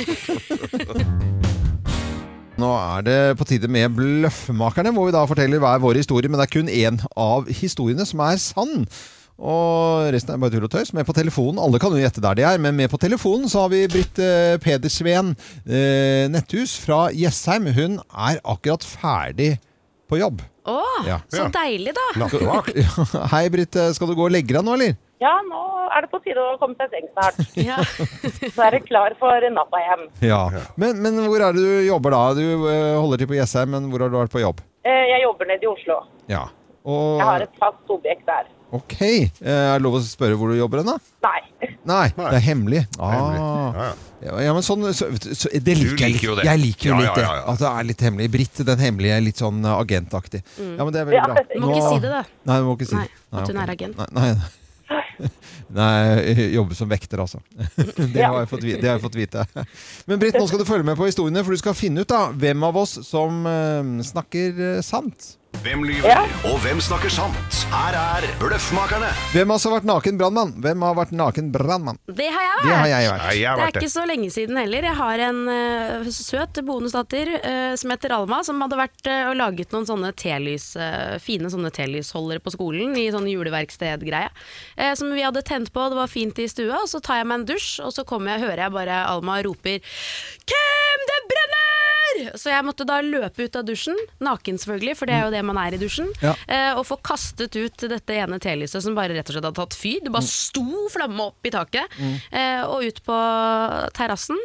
S1: Nå er det på tide med Bløffmakerne, hvor vi da forteller hver vår historie, men det er kun én av historiene som er sann. Og resten er bare tull og tøys. Med på telefonen, Alle kan jo gjette der de er, men med på telefonen så har vi Britt eh, Pedersveen eh, Netthus fra Jessheim. Hun er akkurat ferdig på jobb.
S3: Å,
S1: Ja.
S3: så
S1: Ja.
S3: deilig da!
S1: Nattevakt. Hei, Britt. Skal du gå og legge deg nå, eller?
S11: Ja, nå er det på tide å komme seg i seng snart.
S3: Ja.
S11: Så er det klar for natta hjem.
S1: Ja. Men, men hvor er det du jobber da? Du eh, holder til på Jessheim, men hvor har du vært på jobb?
S11: Eh, Jeg jobber nede i Oslo.
S1: Ja. Og,
S11: Jeg har et fast objekt der.
S1: Ok. Eh, Er det lov å spørre hvor du jobber hen, da?
S11: Nei.
S1: Nei, det er hemmelig. Ah.
S2: hemmelig.
S1: Ja, ja, men sånn, så, så, det
S2: Du
S1: liker, jeg
S2: liker jo
S1: litt.
S2: det.
S1: Jeg liker jo
S2: Ja,
S1: litt
S2: ja,
S1: det.
S2: ja, ja.
S1: At det er litt hemmelig. Britt, den hemmelige, er litt sånn eh, agentaktig.
S3: Mm.
S1: Ja, men det er veldig
S3: Ja,
S1: bra.
S3: du må ikke si det, da.
S1: Nei, du må ikke si
S3: Nei,
S1: det.
S3: at hun
S1: ok.
S3: er agent.
S1: Nei, nei, nei. Nei, jeg jobber som vekter, altså. Det har jeg fått vite. Det har jeg fått vite. Men Britt, nå skal du følge med på historiene, for du skal finne ut da hvem av oss som eh, snakker eh, sant.
S6: Hvem lyver, og hvem snakker sant? Her er Bløffmakerne.
S1: Hvem har så vært naken brannmann? Hvem har vært naken brannmann?
S3: Det har jeg vært!
S1: Det har jeg vært.
S3: det er ikke så lenge siden heller. Jeg har en eh, søt bonusdatter eh, som heter Alma, som hadde vært eh, og laget noen sånne telys, eh, fine sånne telysholdere på skolen, i sånn juleverksted-greie, eh, som vi hadde tent på, det var fint i stua, og så tar jeg meg en dusj, og så kommer jeg, hører jeg bare Alma roper Hvem det brenner?! Så jeg måtte da løpe ut av dusjen, naken selvfølgelig, for det er jo det man er i dusjen,
S9: Ja.
S3: eh, og få kastet ut dette ene telyset som bare rett og slett hadde tatt fyr.
S1: Mm.
S3: Det bare sto flamme opp i taket.
S9: Mm.
S3: Eh, og ut på terrassen,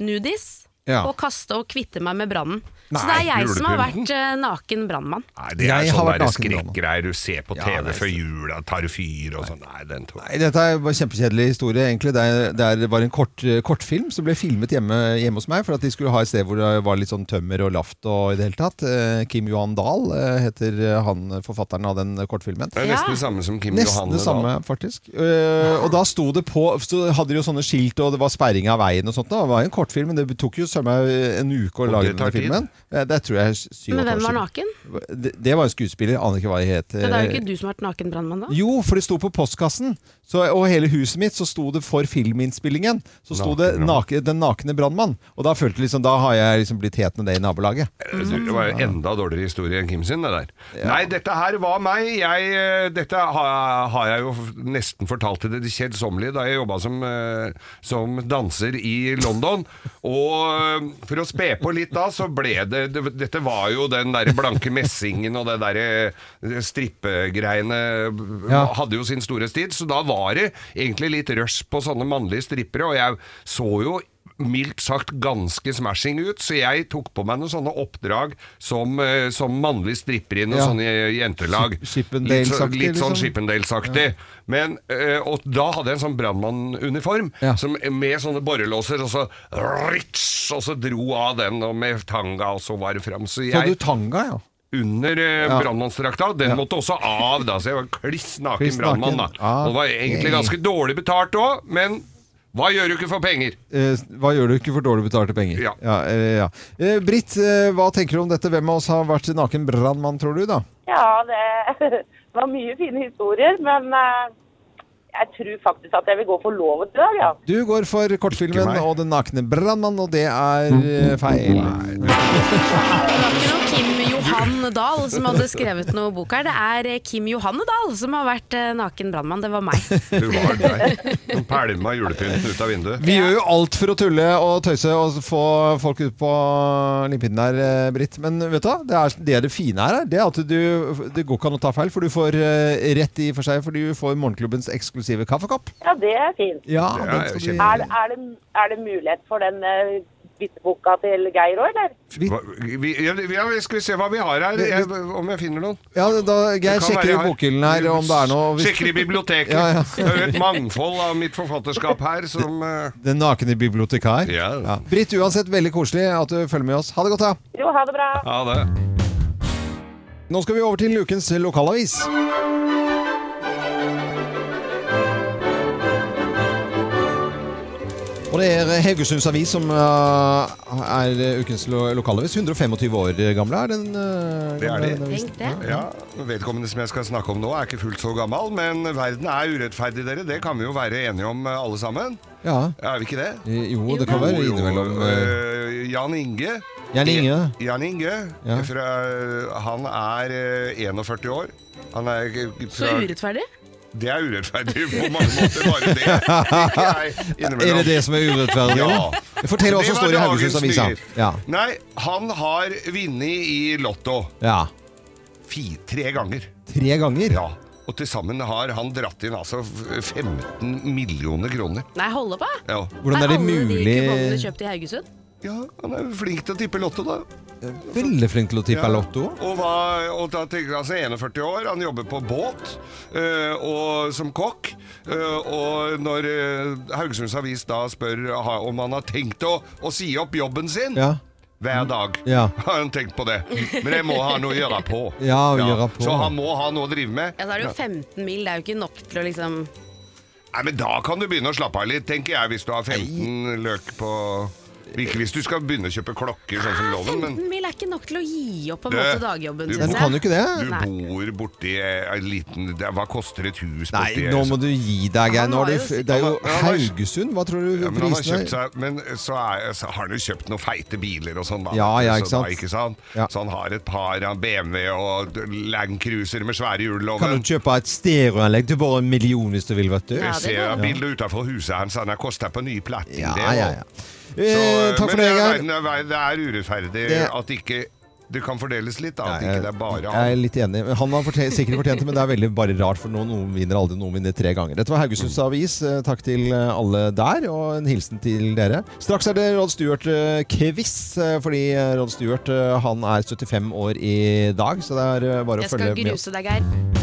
S3: nudis,
S1: Ja.
S3: og kaste og kvitte meg med brannen. Så
S2: Nei,
S3: det er jeg som har
S2: julepynten.
S3: vært eh, naken brannmann.
S2: Nei, det er
S1: Jeg har vært
S2: sånne der
S1: naken brannmann.
S2: skrekkgreier du ser på
S1: Ja,
S2: TV
S1: det er
S2: før jula, tar fyr og sånn. Nei, den tok
S1: Nei, Dette er jo bare kjempekjedelig historie, egentlig. Det, er, det er- det var en kort, eh, kortfilm som ble filmet hjemme, hjemme hos meg, for at de skulle ha et sted hvor det var litt sånn tømmer og laft og i det hele tatt. Eh, Kim Johan Dahl eh, heter eh, han eh, forfatteren av den eh, kortfilmen.
S2: Det er nesten det samme som Kim
S1: Nesten
S2: Johanne
S1: det samme,
S2: Dahl.
S1: faktisk. Eh, og da sto det på Så hadde de jo sånne skilt, og det var sperring av veien og sånt. da. Det var jo en kortfilm, men det tok jo søren meg en uke å
S2: Og
S1: lage
S2: det
S1: denne
S2: tar tid.
S1: filmen. Eh, Det tror jeg er syv
S3: Men
S1: og et
S3: hvem
S1: halvt år
S3: var naken?
S1: siden. Det, det var en skuespiller, aner ikke hva jeg het.
S3: Men det er jo ikke du som har vært naken brannmann da?
S1: Jo, for det sto på postkassen. Så, og hele huset mitt så sto det for filminnspillingen. Så sto det nake, 'Den nakne brannmann'. Og da følte jeg liksom, da har jeg liksom blitt hetende det i nabolaget.
S2: Du, Det var jo enda dårligere historie enn Kim sin, det der. Nei, dette her var meg. Jeg, eh, dette har, har jeg jo f- nesten fortalt til det kjedsommelige da jeg jobba som, eh, som danser i London. Og eh, for å spe på litt da, så ble det, det Dette var jo den der blanke messingen og det derre strippegreiene b-
S1: Ja.
S2: Hadde jo sin store tid, så da var det egentlig litt rush på sånne mannlige strippere, og jeg så jo mildt sagt ganske smashing ut, så jeg tok på meg noen sånne oppdrag som, eh, som mannlig stripper i noen
S1: Ja.
S2: sånne jentelag.
S1: Ship-
S2: litt, så,
S1: Chippendales-aktig,
S2: litt sånn
S1: liksom.
S2: Chippendales-aktig. Men, eh, og da hadde jeg en sånn brannmannuniform som- med sånne borrelåser, og så rits, og så dro av den og med tanga, og så var det fram. Så
S1: Så
S2: jeg
S1: hadde du tanga, ja.
S2: under eh,
S1: Ja.
S2: brannmannsdrakta. Den
S1: Ja.
S2: måtte også av, da, så jeg var kliss naken
S1: Kliss naken.
S2: brannmann. da.
S1: Ah,
S2: Og det var egentlig
S1: ok.
S2: ganske dårlig betalt òg, men hva gjør du ikke for penger?
S1: Eh, hva gjør du ikke for dårlig betalte penger?
S2: Ja.
S1: eh, ja. Eh, Britt, eh, hva tenker du om dette? Hvem av oss har vært naken brannmann, tror du? da?
S11: Ja, det var mye fine historier, men eh, jeg tror faktisk at jeg vil gå for lovet i dag, ja.
S1: Du går for kortfilmen
S2: meg.
S1: og Den nakne brannmann, og det er eh, feil.
S3: Det var ikke noe Kim Johan Dahl som hadde skrevet noe bok her. Det er eh, Kim Johanne Dahl som har vært eh, naken brannmann. Det var meg.
S2: Du var der. Du pælma julepynten ut av vinduet.
S1: Vi gjør jo alt for å tulle og tøyse og få folk ut på limpinnen her, eh, Britt. Men vet du hva? Det, er, det, er det fine her, er det at du, det går ikke an å ta feil, for du får eh, rett i og for seg, for du får morgenklubbens eksklusive kaffekopp.
S11: Ja, det er fint.
S1: Ja,
S2: Det
S1: den
S2: er
S1: skal
S2: kjempe-
S1: bli...
S11: Er, det- er, det, er det mulighet for den uh, bitteboka til Geir òg, eller?
S2: Hva, vi, ja, vi- ja, skal vi se hva vi har her, jeg, om jeg finner noen.
S1: Ja, da,
S2: Det
S1: Geir
S2: kan
S1: sjekker
S2: være
S1: i
S2: jeg har-
S1: bokhyllen her om det er noe hvis-
S2: Sjekker i biblioteket.
S1: Ja, ja.
S2: Det er jo et mangfold av mitt forfatterskap her som eh,
S1: Den nakne bibliotekar.
S2: Ja.
S1: Britt, uansett veldig koselig at du følger med oss. Ha det godt, da.
S11: Jo, ha det bra.
S2: Ja, det.
S1: Nå skal vi over til ukens lokalavis. Og det er Haugesunds Avis som uh, er ukens lo lokalavis. 125 år gamle er den. Uh,
S2: Det er de.
S1: den avisen.
S3: Tenk det.
S2: Ja, Vedkommende som jeg skal snakke om nå, er ikke fullt så gammel, men verden er urettferdig, dere. Det kan vi jo være enige om, eh, alle sammen.
S1: Ja.
S2: Er vi ikke det?
S1: Jo, det kan være
S2: Jo, jo,
S1: innimellom. Uh,
S2: eh, Jan Inge.
S1: Jan Inge.
S2: Jan Inge.
S1: Ja.
S2: Fra, han er eh, 41 år. Han er ikke-
S3: Så
S2: fra,
S3: urettferdig.
S2: Det er urettferdig på mange måter, bare det. Tenker jeg
S1: Er
S2: innimellom.
S1: det det som er urettferdig?
S2: Ja.
S1: Fortell hva
S2: Det
S1: som
S2: var
S1: står i
S2: dagens
S1: Haugesunds Avis. ja.
S2: nyhet.
S1: Ja.
S2: Nei, han har vunnet i Lotto
S1: ja.
S2: fi, tre ganger.
S1: Tre ganger?
S2: Ja. Og til sammen har han dratt inn altså f- 15 millioner kroner.
S3: Nei, holde på!
S2: Ja.
S1: Hvordan er det
S3: alle de kupongene
S1: mulig?
S3: kjøpt i Haugesund?
S2: ja, han er jo flink til å tippe Lotto, da.
S1: Veldig flink til å tippe
S2: Ja.
S1: lotto.
S2: Og, hva, og da tenker jeg altså 41 år, han jobber på båt øh, og som kokk. øh, og når øh, Haugesunds Avis da spør ha, om han har tenkt å, å si opp jobben sin
S1: Ja. Mm.
S2: hver dag,
S1: Ja.
S2: har han tenkt på det. Men det må ha noe å gjøre på.
S1: Ja, å gjøre på.
S2: Så han må ha noe å drive med.
S3: Ja, så er det jo 15 mil, det er jo ikke nok til å liksom
S2: Nei, men Da kan du begynne å slappe av litt, tenker jeg, hvis du har 15 løk på Ikke hvis du skal begynne å kjøpe klokker, sånn som loven, men
S3: 15 mil er ikke nok til å gi opp på en
S2: Det-
S3: måte
S2: du-
S3: dagjobben,
S1: Nei,
S3: syns
S1: du
S3: jeg.
S1: kan jo ikke det.
S2: du
S3: Nei.
S2: bor borti en liten det- Hva koster et hus borti
S1: Nei, nå må du gi deg, Geir.
S3: Han
S1: Nå
S3: har
S1: er det,
S3: jo
S1: f-
S3: sitt-
S1: det er jo
S2: Han har- han har-
S1: Haugesund. Hva tror du
S2: ja, men, han har
S1: prisen
S2: kjøpt
S1: er?
S2: seg, men så, er, så har han jo kjøpt noen feite biler og sånn. da,
S1: Ja,
S2: vet du,
S1: ja, ikke
S2: så Da,
S1: sant?
S2: ikke sant?
S1: Ja.
S2: Så han har et par av BMW og Land Cruiser med svære hjul. og-
S1: Kan du kjøpe et stereoanlegg til bare en million hvis du vil, vet du?
S3: Ja,
S2: Jeg
S3: det
S2: ser
S3: går an.
S2: bildet utenfor huset hans, han har kosta på ny platting.
S1: Ja,
S2: det,
S1: ja,
S2: og-
S1: ja.
S2: Så,
S1: Eh, takk for det,
S2: men
S1: Geir.
S2: verden er- verden er urettferdig
S1: Det-
S2: at ikke det kan fordeles litt, da. At
S1: Nei,
S2: ikke det er bare
S1: jeg er
S2: han.
S1: litt enig. Han har fortjent, sikkert fortjent det, men det er veldig bare rart, for noen, noen vinner aldri, noen vinner tre ganger. Dette var Haugesunds
S2: Mm.
S1: Avis. Eh, Takk til eh, alle der, og en hilsen til dere. Straks er det Rod Stewart-quiz, fordi eh, Rod Stewart eh, han er 75 år i dag, så det er eh, bare
S3: Jeg
S1: å følge
S3: skal
S1: med.
S3: gruse deg, Geir.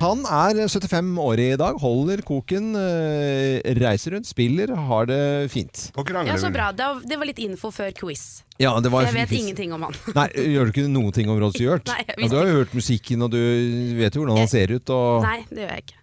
S1: Han er 75 år i dag, holder koken, eh, reiser rundt, spiller, har det fint.
S2: Og
S3: Ja,
S2: krangler
S3: så bra. Det var- det var litt info før quiz.
S1: Ja, det
S3: For jeg vet ingenting om han.
S1: Nei, eh, Gjør du ikke noen ting om Rod Stewart?
S3: Nei, jeg
S1: ja, du har jo hørt musikken, og du vet jo hvordan han ser ut. Og...
S3: Nei, det gjør jeg ikke.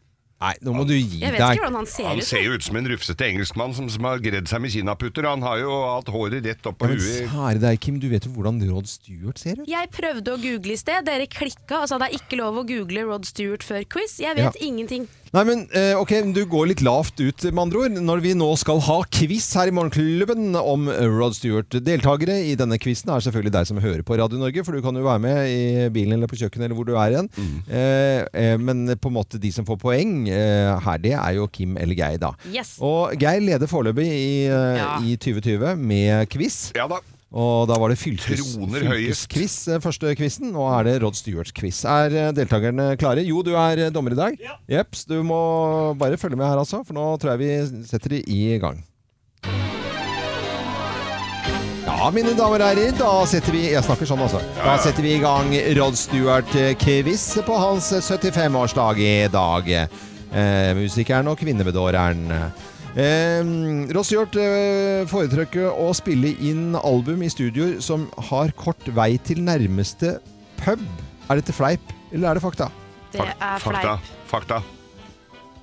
S1: Nei, nå må du gi
S3: Jeg vet
S1: deg.
S3: ikke hvordan han ser
S2: Han
S3: ut.
S2: ser jo ut som en rufsete engelskmann som, som har gredd seg med kinaputter. Han har jo hatt håret rett opp
S1: Ja,
S2: på
S1: men
S2: huet.
S1: Kjære deg, Kim. Du vet jo hvordan Rod Stewart ser ut.
S3: Jeg prøvde å google i sted, dere klikka og sa det er ikke lov å google Rod Stewart før quiz. Jeg vet
S1: Ja.
S3: ingenting.
S1: Nei, men eh, ok, du går litt lavt ut, med andre ord, når vi nå skal ha quiz her i Morgenklubben om Rod Stewart. Deltakere i denne quizen er selvfølgelig deg som hører på Radio Norge, for du kan jo være med i bilen eller på kjøkkenet eller hvor du er igjen. Eh, eh, men på en måte de som får poeng eh, her, det er jo Kim eller Geir, da.
S3: Yes.
S1: Og Geir leder foreløpig i, eh,
S3: Ja.
S1: i 2020 med quiz.
S2: Ja da.
S1: Og da var det fylkes,
S2: Troner høyest.
S1: fylkesquiz, eh, første quizen. Nå er det Rod Stewarts quiz. Er eh, deltakerne klare? Jo, du er eh, dommer i dag. Jeps, du må bare følge med her, altså, for nå tror jeg vi setter det i gang. Ja, mine damer og herrer, da setter vi Jeg snakker sånn, altså. Da setter vi i gang Rod Stewart-quiz på hans 75-årsdag i dag. Eh, musikeren og kvinnebedåreren. Eh, Rod Stewart eh, foretrekker å spille inn album i studioer som har kort vei til nærmeste pub. Er dette fleip, eller er det fakta?
S3: Det er
S2: Fakta.
S3: fleip.
S2: Fakta.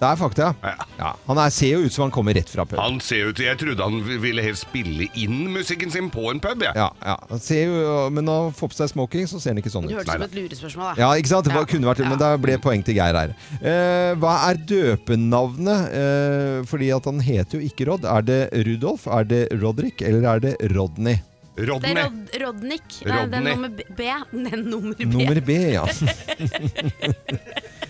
S1: Det er fakta,
S2: Ja.
S1: ja. Han er, ser jo ut som han kommer rett fra pub.
S2: Han ser ut Jeg trodde han ville helst spille inn musikken sin på en pub, jeg.
S1: Ja, ja. Han ser jo, men når han får på seg smoking, så ser han ikke sånn
S3: Det
S1: ut.
S3: hørtes ut som et lurespørsmål. Da.
S1: Ja, ikke sant? Det var- kunne vært, Men da ble poeng til Geir her. Eh, hva er døpenavnet? Eh, fordi at han heter jo ikke Rod. Er det Rudolf, er det Rodrik, eller er det Rodney?
S3: Det er Rod Rodnik. Nei, det er
S1: Rodney.
S3: nummer B. B. Nei, nummer B.
S1: Nummer B, ja.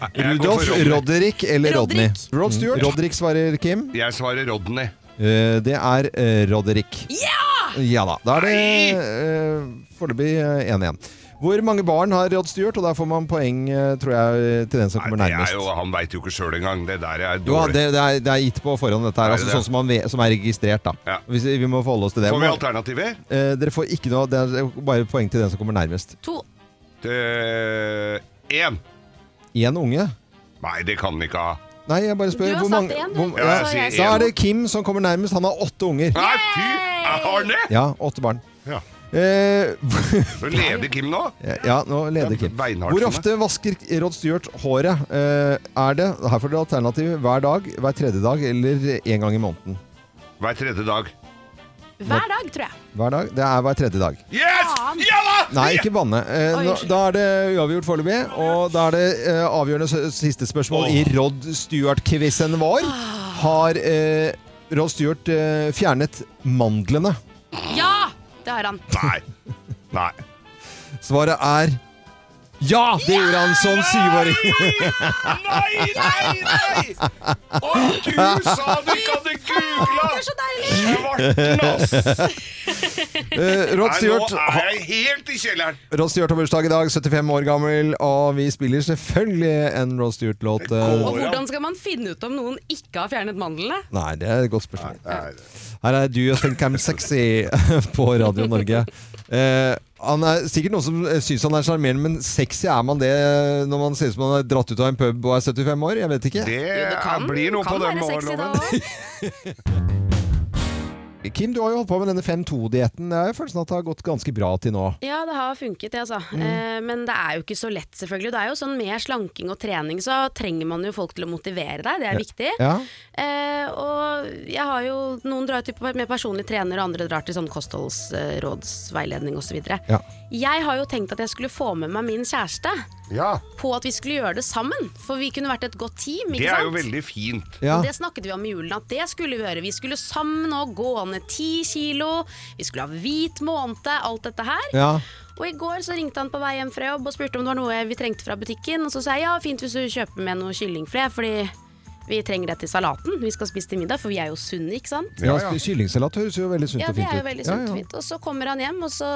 S2: Jeg går
S1: Rudolf,
S2: for Rodney.
S1: Rodrik eller Rodney?
S2: Rodrik.
S1: Rod Stewart.
S2: Mm.
S1: Rodrik svarer Kim.
S2: Jeg svarer Rodney.
S1: Eh, det er eh, Roderick. Ja! Ja da. Da er det eh, foreløpig eh, 1-1. Hvor mange barn har Rod Stewart? Og der får man poeng, eh, tror jeg, til den som kommer
S2: Det er
S1: nærmest.
S2: jo, han veit jo ikke sjøl engang. Det der er
S1: Jo,
S2: dårlig.
S1: det, det, er, det er gitt på forhånd, dette her.
S2: Er det
S1: Altså,
S2: det?
S1: sånn som, man ve- som er registrert, da. Hvis, vi må forholde oss til det.
S2: Får vi alternativer?
S1: Eh, dere får ikke noe, det er bare poeng til den som kommer nærmest.
S3: To.
S2: Én.
S1: Én unge?
S2: Nei, det kan vi ikke ha.
S1: Nei, jeg bare spør.
S2: Du har
S1: hvor
S2: sagt
S1: mange,
S2: én, du.
S1: hvor,
S2: Ja, jeg sier
S1: da
S2: én.
S1: er det Kim som kommer nærmest. Han har åtte unger.
S2: Nei, fy! Har han det?
S1: Ja, åtte barn.
S2: Ja.
S1: Eh,
S2: Nå leder Kim nå.
S1: ja, nå leder Kim.
S2: Beinhardt
S1: Hvor
S2: for meg.
S1: ofte vasker Rod Stewart håret? Eh, er det Her får dere alternativ hver dag, hver tredje dag eller én gang i måneden.
S2: Hver tredje dag.
S3: Hver dag, tror jeg.
S1: Hver dag? Det er hver tredje dag.
S2: Yes! Ja da!
S1: Nei, ikke banne. Eh,
S3: Oi,
S1: nå,
S3: unnskyld.
S1: da er det uavgjort foreløpig. Og da er det eh, avgjørende s- siste spørsmål i Rod Stewart-quizen vår. Har eh, Rod Stewart eh, fjernet mandlene?
S3: Ja! Det har han.
S2: Nei. Nei.
S1: Svaret er ja! Det gjorde han som syvåring.
S2: Nei, nei, nei! Å, du sa du ikke hadde googla! Det er så deilig! Svarten, ass!
S1: Eh, Rod Stewart
S2: Nei, nå er jeg helt i kjelleren.
S1: Rod Stewart har bursdag i dag, 75 år gammel, og vi spiller selvfølgelig en Rod Stewart-låt. eh,
S3: Og hvordan skal man finne ut om noen ikke har fjernet mandlene?
S1: Nei, det er et godt spørsmål. Her er Do You Think I'm Sexy på Radio Norge. Eh, han er sikkert noen som eh, syns han er sjarmerende, men sexy er man det når man ser ut som man er dratt ut av en pub og er 75 år? Jeg vet ikke.
S2: Det, blir noe
S3: kan
S2: på den
S3: være sexy da
S2: morgenloven.
S1: Kim, du har jo holdt på med denne 5-2-dietten. Jeg har jo følelsen av at det har gått ganske bra til nå.
S3: Ja, det har funket, det, altså.
S1: Mm.
S3: Eh, men det er jo ikke så lett, selvfølgelig. Det er jo sånn Med slanking og trening så trenger man jo folk til å motivere deg, det er viktig.
S1: Ja.
S3: Eh, og jeg har jo Noen drar til med personlig trener, og andre drar til sånn kostholdsrådsveiledning osv.
S1: Ja.
S3: Jeg har jo tenkt at jeg skulle få med meg min kjæreste på at vi skulle gjøre det sammen. For vi kunne vært et godt team, ikke
S2: Det er
S3: sant?
S2: jo veldig fint.
S3: Og det snakket vi om i julen at det skulle vi gjøre. Vi skulle sammen og gå ned ti kilo. Vi skulle ha hvit måned, alt dette her.
S1: Ja.
S3: Og i går så ringte han på vei hjem fra jobb og spurte om det var noe vi trengte fra butikken. Og så sa jeg ja, fint hvis du kjøper med noe kyllingfilet, fordi vi trenger det til salaten. Vi skal spise til middag, for vi er jo sunne, ikke sant?
S1: Ja, Kyllingsalat høres jo veldig sunt
S3: Ja,
S1: og
S3: det
S1: fint ut.
S3: er jo veldig sunt
S1: Ja, ja.
S3: og fint. Og så kommer han hjem, og så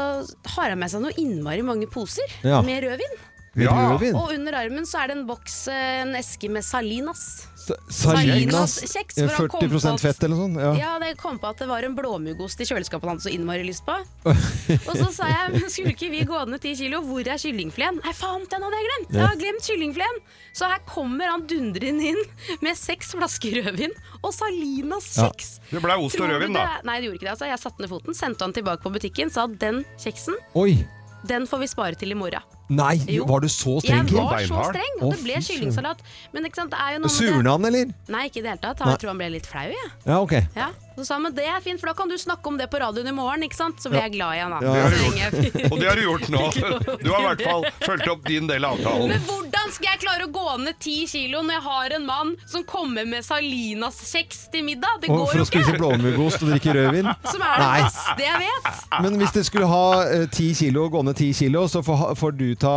S3: har han med seg noe innmari mange poser
S1: Ja.
S3: med rødvin.
S1: Med rødvin?
S3: Og under armen så er det en boks, eh, en eske med Salinas.
S1: Salinas
S3: Salinas-kjeks,
S1: eh,
S3: hvor han kom på
S1: 40
S3: at-
S1: fett eller noe sånt?
S3: Ja.
S1: Ja.
S3: det kom på at det var en blåmuggost i kjøleskapet han hadde så innmari lyst på. Og så sa jeg men skulle ikke vi gå ned ti kilo, hvor er kyllingfileten? Nei, faen, den hadde jeg glemt! Jeg har glemt kyllingfileten! Så her kommer han dundrende inn med seks flasker rødvin og Salinas
S2: Ja.
S3: kjeks.
S2: Det ble ost og
S3: Tror du
S2: rødvin, da.
S3: det- Nei, det gjorde ikke det. Altså. Jeg satte ned foten, sendte han tilbake på butikken, sa den kjeksen,
S1: Oi!
S3: den får vi spare til i morgen.
S1: Nei,
S3: Jo.
S1: var du så streng?
S3: Jeg var så streng, og det ble kyllingsalat. Men ikke sant, det er jo noe med det-
S1: Surna han, eller?
S3: Nei, ikke i det hele tatt.
S1: Nei.
S3: Jeg tror han ble litt flau, jeg.
S1: Ja, ok.
S3: Ja. Så sa han, men det er fint, for da kan du snakke om det på radioen i morgen, ikke sant? Så blir
S2: Ja.
S3: jeg glad i han da.
S2: Det har du
S3: Så lenge
S2: gjort.
S3: jeg-
S2: Og det har du gjort nå. Du har i hvert fall fulgt opp din del av
S3: Men
S2: avtalen.
S3: hvordan skal jeg klare å gå ned ti kilo når jeg har en mann som kommer med Salinas-kjeks til middag? Det
S1: Og
S3: går
S1: for
S3: jo
S1: å spise
S3: ikke.
S1: blåmuggost og drikke rødvin?
S3: Som er det beste jeg vet.
S1: Men hvis det skulle ha eh, ti kilo, gå ned ti kilo, så får, ha- får du ta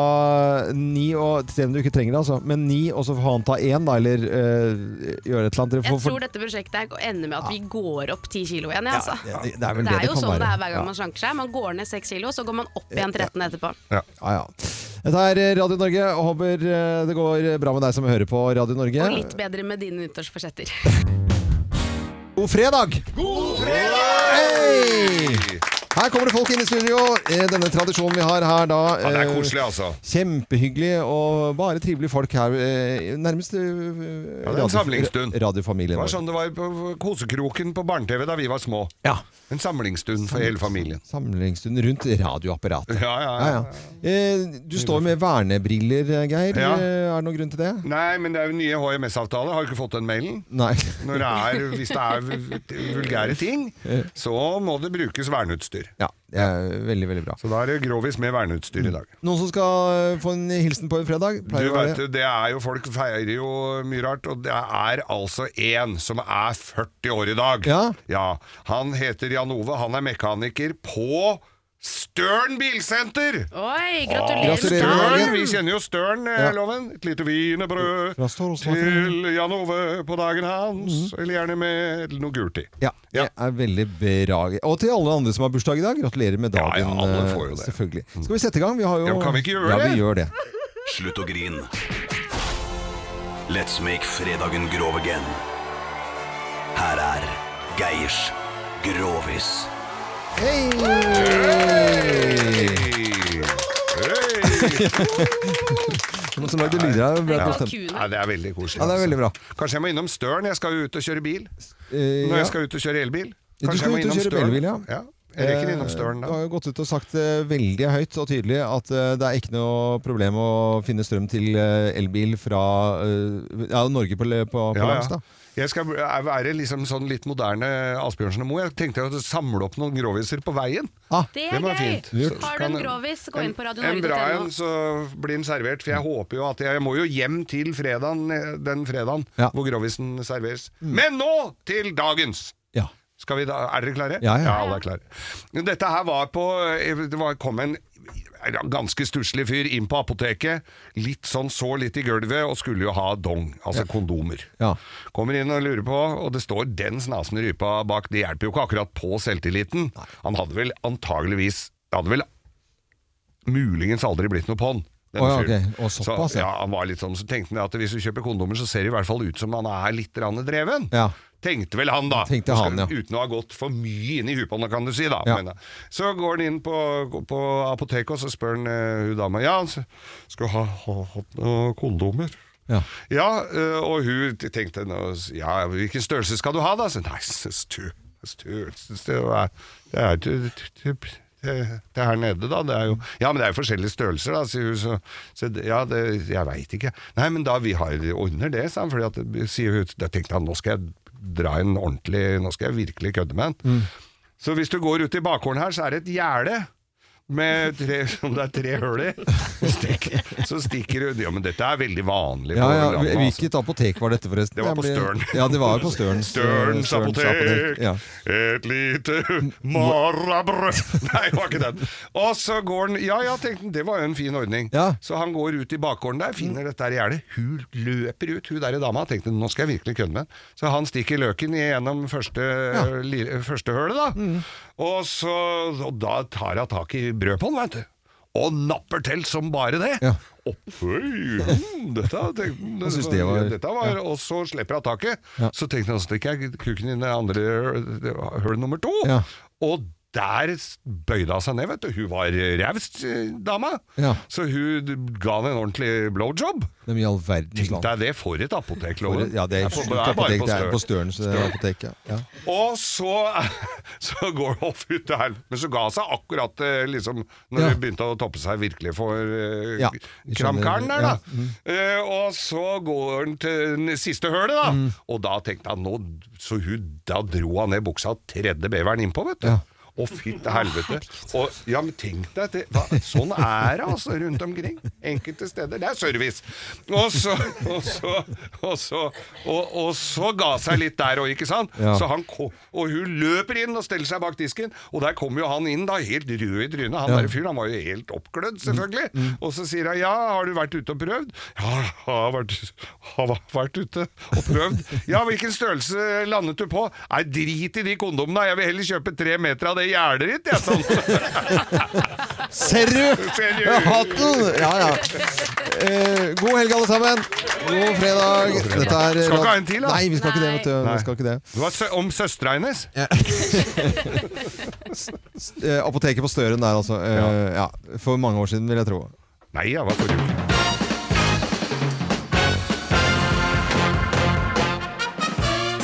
S1: ni, og, selv om du ikke trenger det, altså, men ni, og så får han ta én, da, eller eh, gjøre et eller annet. Dere får-
S3: Jeg
S1: får-
S3: tror dette prosjektet her ender med at vi går opp ti kilo igjen, jeg, altså.
S1: Ja, det- det er vel det det
S3: jo
S1: kan
S3: sånn det
S1: være.
S3: er hver
S1: Ja.
S3: gang man slanker seg. Man går ned seks kilo, så går man opp igjen 13 etterpå.
S2: Ja.
S1: Ja, ja. Dette er eh, Radio Norge. og Håper eh, det går bra med deg som hører på Radio Norge.
S3: Og litt bedre med dine nyttårsforsetter.
S1: God fredag!
S3: God
S1: Hei! Her kommer det folk inn i studio. Eh, Denne tradisjonen vi har her da
S2: Ja, det er
S1: eh,
S2: koselig, altså.
S1: Kjempehyggelig og bare trivelige folk her. eh, Nærmest eh,
S2: Ja, det er
S1: radio-
S2: en samlingsstund.
S1: Radiofamilien
S2: Det var
S1: vår.
S2: sånn det var på kosekroken på barne-TV da vi var små. En samlingsstund
S3: Sånn.
S2: for hele familien.
S1: Samlingsstund rundt radioapparatet.
S2: Ja, ja, ja.
S1: Eh, Du står med vernebriller, eh, Geir.
S2: Ja.
S1: Eh, Er det noen grunn til det?
S2: Nei, men det er jo nye HMS-avtaler. Har du ikke fått den mailen?
S1: Nei.
S2: Når det er, hvis det er vul- vulgære ting, så må det brukes verneutstyr.
S1: Ja, det er veldig, veldig bra.
S2: Så da er det grovis med verneutstyr i dag.
S1: Noen som skal eh, få en hilsen på en fredag?
S2: Du
S1: Pleier å være
S2: vet, jo, Mm. det er jo, Folk feirer jo mye rart, og det er altså én som er 40 år i dag. Ja. Han heter Jan Ove, han er mekaniker på Støren bilsenter!
S3: Oi,
S2: Åh,
S3: gratulerer med
S2: Støren!
S3: dagen!
S2: Vi kjenner jo Støren, eh,
S1: Ja.
S2: loven. Et lite wienerbrød
S1: Fra Stålsmaken.
S2: til Jan Ove på dagen hans.
S1: Mhm.
S2: Eller gjerne med noe gult i.
S1: Ja, det er veldig bra. Og til alle andre som har bursdag i dag, gratulerer med dagen.
S2: ja, alle får jo
S1: eh,
S2: det. Mm.
S1: Selvfølgelig. Skal vi sette i gang? Vi har jo
S2: Ja, men kan vi ikke gjøre
S1: Ja,
S2: det?
S1: vi gjør det.
S6: Slutt å grine. Let's make fredagen grov again. Her er Geirs Grovis.
S1: Hei! Noen som lagde lyder her. Bra bestemt.
S2: Ja, det er veldig koselig. altså.
S1: Ja, det er veldig bra.
S2: Kanskje jeg må innom Støren. Jeg skal jo ut og kjøre bil.
S1: Eh,
S2: Når
S1: ja.
S2: jeg skal ut og kjøre elbil.
S1: Du
S2: Kanskje
S1: skal
S2: jeg må
S1: ut og
S2: innom
S1: kjøre
S2: Støren.
S1: elbil, ja.
S2: ja. Jeg rekker innom
S1: Eh,
S2: Støren
S1: Du
S2: da.
S1: har jo gått ut og sagt eh, veldig høyt og tydelig at eh, det er ikke noe problem å finne strøm til eh, elbil fra eh, ja, Norge på, på, på
S2: Ja,
S1: langs,
S2: ja.
S1: da.
S2: Jeg skal være liksom sånn litt moderne Asbjørnsen og Moe. Jeg tenkte å samle opp noen groviser på veien.
S3: Det er
S2: må være
S3: gøy!
S2: fint. Så
S3: Har du
S2: kan-
S3: en grovis, gå inn på
S2: En bra en,
S3: radionorge.no.
S2: så blir den servert. For jeg håper jo at jeg, jeg må jo hjem til fredagen, eh, den fredagen
S1: Ja.
S2: hvor grovisen serveres. Men nå til dagens!
S1: Ja.
S2: Skal vi da, er dere klare?
S1: Ja, ja.
S2: alle er klare. Dette her var på eh, Det var, kom en ganske stusslig fyr inn på apoteket. Litt sånn så litt i gulvet, og skulle jo ha dong, altså kondomer.
S1: Ja.
S2: Kommer inn og lurer på, og det står den snasen i rypa bak. Det hjelper jo ikke akkurat på selvtilliten. Han hadde vel antageligvis Hadde vel muligens aldri blitt noe på han. denne
S1: Å ja,
S2: fyren.
S1: ok. Å, såpass,
S2: så,
S1: ja.
S2: ja, han var litt sånn, så tenkte han at hvis du kjøper kondomer, så ser det i hvert fall ut som han er litt rann dreven.
S1: Ja.
S2: Tenkte vel han, da.
S1: Tenkte han, ja.
S2: Uten å ha gått for mye inn i huet på han, kan du si. da.
S1: Ja.
S2: Men, så går han inn på, på apoteket, og så spør han eh, hun dama Ja, han s- skal du ha, ha, ha noen kondomer.
S1: Ja.
S2: eh, og hun tenkte nå, s- Ja, hvilken størrelse skal du ha, da? Så, Nei, s- stu- størrelse Det er, det er til- til- til- til her nede, da. Det er jo, ja, men det er jo forskjellige størrelser, da, sier hun. Så, så det- ja, det, jeg veit ikke. Nei, men da vi har ordner det, sa han. Fordi at, sier hun, da tenkte han nå skal jeg dra en ordentlig Nå skal jeg virkelig kødde med han. Så hvis du går ut i bakgården her, så er det et gjerde med tre, som det er tre hull i. Så stikker- Så stikker du Ja, men dette er veldig vanlig. på
S1: Ja, ja.
S2: landet, altså.
S1: Hvilket apotek var dette, forresten?
S2: Det var på
S1: Jeg ble-
S2: Støren.
S1: Ja, det var på Størens,
S2: Størens apotek.
S1: eh, Ja.
S2: Et lite marabrød Nei, det var ikke den. Og så går han Ja, ja, tenkte han, det var jo en fin ordning.
S1: Ja.
S2: Så han går ut i bakgården der, finner dette her gjerdet. Hun løper ut, hun der dama. Tenkte nå skal jeg virkelig kødde med den. Så han stikker løken gjennom første, lille- første hølet, da.
S1: Mm.
S2: Og, så, og da tar hun tak i brødpåen, veit du. Og napper til som bare det.
S1: Ja.
S2: Opp, Oi, mm, dette tenkte han
S1: Han syntes det var-
S2: dette var, Og så slipper jeg taket.
S1: Ja.
S2: Så tenkte jeg så stikker jeg kuken inn i andre høl nummer to.
S1: Ja.
S2: Og der bøyde hun seg ned, vet du. Hun var raust, eh, dama.
S1: Ja.
S2: Så hun d- ga henne en ordentlig blowjob.
S1: De i all verdens
S2: Tenk
S1: land.
S2: deg det for et apotek,
S1: For,
S2: Loven.
S1: ja, det er,
S2: på-
S1: sjukt
S2: bare
S1: apotek. Det er
S2: Støren.
S1: på Størens eh,
S2: Støren.
S1: apotek, ja. ja.
S2: Og så, så går hun ut der, men så ga hun seg akkurat eh, liksom, når
S1: Ja.
S2: det begynte å toppe seg virkelig for uh,
S1: Ja, vi skjønner.
S2: kramkaren der, da.
S1: Ja, mhm.
S2: Eh, og så går han til den siste hølet, da.
S1: Mm.
S2: Og da tenkte han nå, så hun, da dro han ned buksa og tredde beveren innpå, vet du. Å, fy til helvete. Og, ja, men tenk deg det. Hva, sånn er det altså rundt omkring. Enkelte steder. Det er service. Og så Og så, og så, og, og så ga seg litt der òg, ikke sant?
S1: Ja.
S2: Så han ko- og hun løper inn og steller seg bak disken, og der kommer jo han inn, da, helt rød i trynet. Han
S1: Ja. Mm,
S2: der fyren, han var jo helt oppglødd, selvfølgelig. Og så sier hun ja, har du vært ute og prøvd? Ja, har vært, har vært ute og prøvd. ja, hvilken størrelse landet du på? Nei, drit i de kondomene, jeg vil heller kjøpe tre meter av det gjerdet ditt, jeg, sånn.
S1: Ser du?
S2: Ser
S1: Ja, Hatten! Ja, ja. Eh, god helg, alle sammen. God fredag.
S2: God fredag.
S1: Dette er, eh,
S2: Skal ikke ha en til, da?
S1: Nei, vi skal ikke det. vet du.
S2: Nei.
S1: Vi skal ikke det.
S2: Det var sø om søstera hennes.
S1: Eh, apoteket på Støren der, altså. Eh, ja. For mange år siden, vil jeg tro.
S2: Nei, jeg var forrige uke.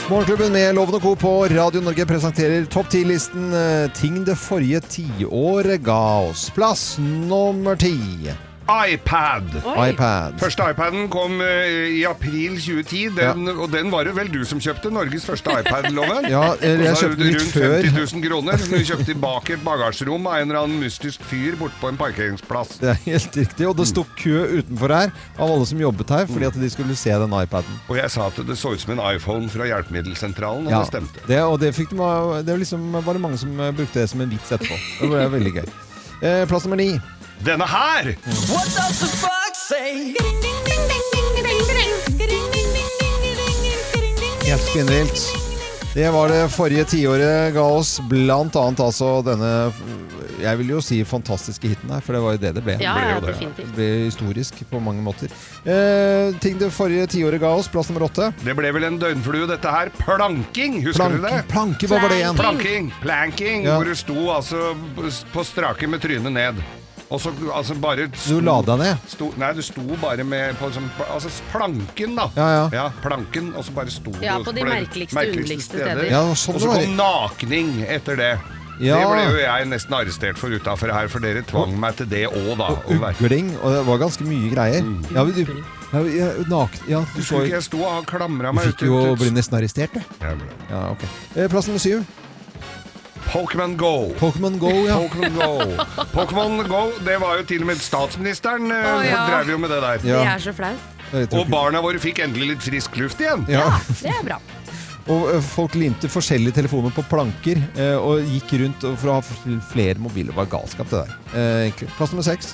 S1: Morgenklubben med Loven og Co. på Radio Norge presenterer topp 10-listen eh, ting det forrige tiåret ga oss. Plass nummer ti.
S2: iPad.
S1: Oi. iPad.
S2: Første iPaden kom eh, i april 2010, den, og den var det vel du som kjøpte? Norges første iPad-loven?
S1: Ja, eller jeg
S2: Og så
S1: kjøpte den litt
S2: rundt
S1: før.
S2: 50 000 kroner som du kjøpte bak et bagasjerom av en eller annen mystisk fyr borte på en parkeringsplass.
S1: Det er helt riktig. Og det sto kø utenfor her av alle som jobbet her, fordi at de skulle se den iPaden.
S2: Og jeg sa at det så ut som en iPhone fra hjelpemiddelsentralen, og
S1: Ja,
S2: det stemte.
S1: det, og det, fikk de, det var liksom bare mange som eh, brukte det som en vits etterpå. Det ble veldig gøy. Eh, plass nummer ni.
S2: Denne her!
S9: What does the fox say? Ding, ding, ding, ding, ding, ding, ding, ding, ding, ding, ding, ding, ding, ding, ding.
S1: Helt spinnvilt. Det var det forrige tiåret ga oss, blant annet altså denne Jeg vil jo si fantastiske hiten her, for det var jo det det ble. det ble
S3: Ja, ja,
S1: jo det.
S3: definitivt.
S1: Det ble historisk på mange måter. Eh, ting det forrige tiåret ga oss, plass nummer åtte.
S2: Det ble vel en døgnflue, dette her. Planking, husker
S1: Planking,
S2: du det?
S1: planke, hva var det igjen?
S2: Planking, planking,
S1: Ja.
S2: hvor du sto altså på strake med trynet ned. Og så altså bare
S1: Du la deg ned?
S2: Sto, nei, du sto bare med på sånn, altså planken, da.
S1: Ja, ja.
S2: planken, og så bare sto du
S3: Ja,
S2: og
S3: på
S2: så
S3: de
S2: ble-
S3: merkeligste, underligste steder.
S1: Ja, sånn
S2: og så
S1: det
S2: kom nakning etter det.
S1: Ja.
S2: Det ble jo jeg nesten arrestert for utafor her, for dere tvang meg til det òg, da. å være-
S1: Ugling, og det var ganske mye greier. Ja, men du, ja, ja, naken, ja, du
S2: Du
S1: så
S2: skulle ikke
S1: jo
S2: jeg sto og klamra
S1: Du
S2: meg
S1: fikk jo bli nesten arrestert, du.
S2: Jeg ble-
S1: Ja, ok. Eh, Plass nummer syv.
S2: Pokémon Go.
S1: Pokémon Go, ja.
S2: Pokémon Go. Pokémon Go, det var jo til og med statsministeren eh,
S3: Å, ja.
S2: drev jo med det der.
S3: Det er så flaut.
S1: Jeg tror
S2: Og
S1: ikke-
S2: barna våre fikk endelig litt frisk luft igjen.
S1: Ja.
S3: Det er bra.
S1: Og ø, folk limte forskjellige telefoner på planker ø, og gikk rundt og- for å ha fl- flere mobiler. Det var galskap, det der. Eh, egentlig. Plass nummer seks.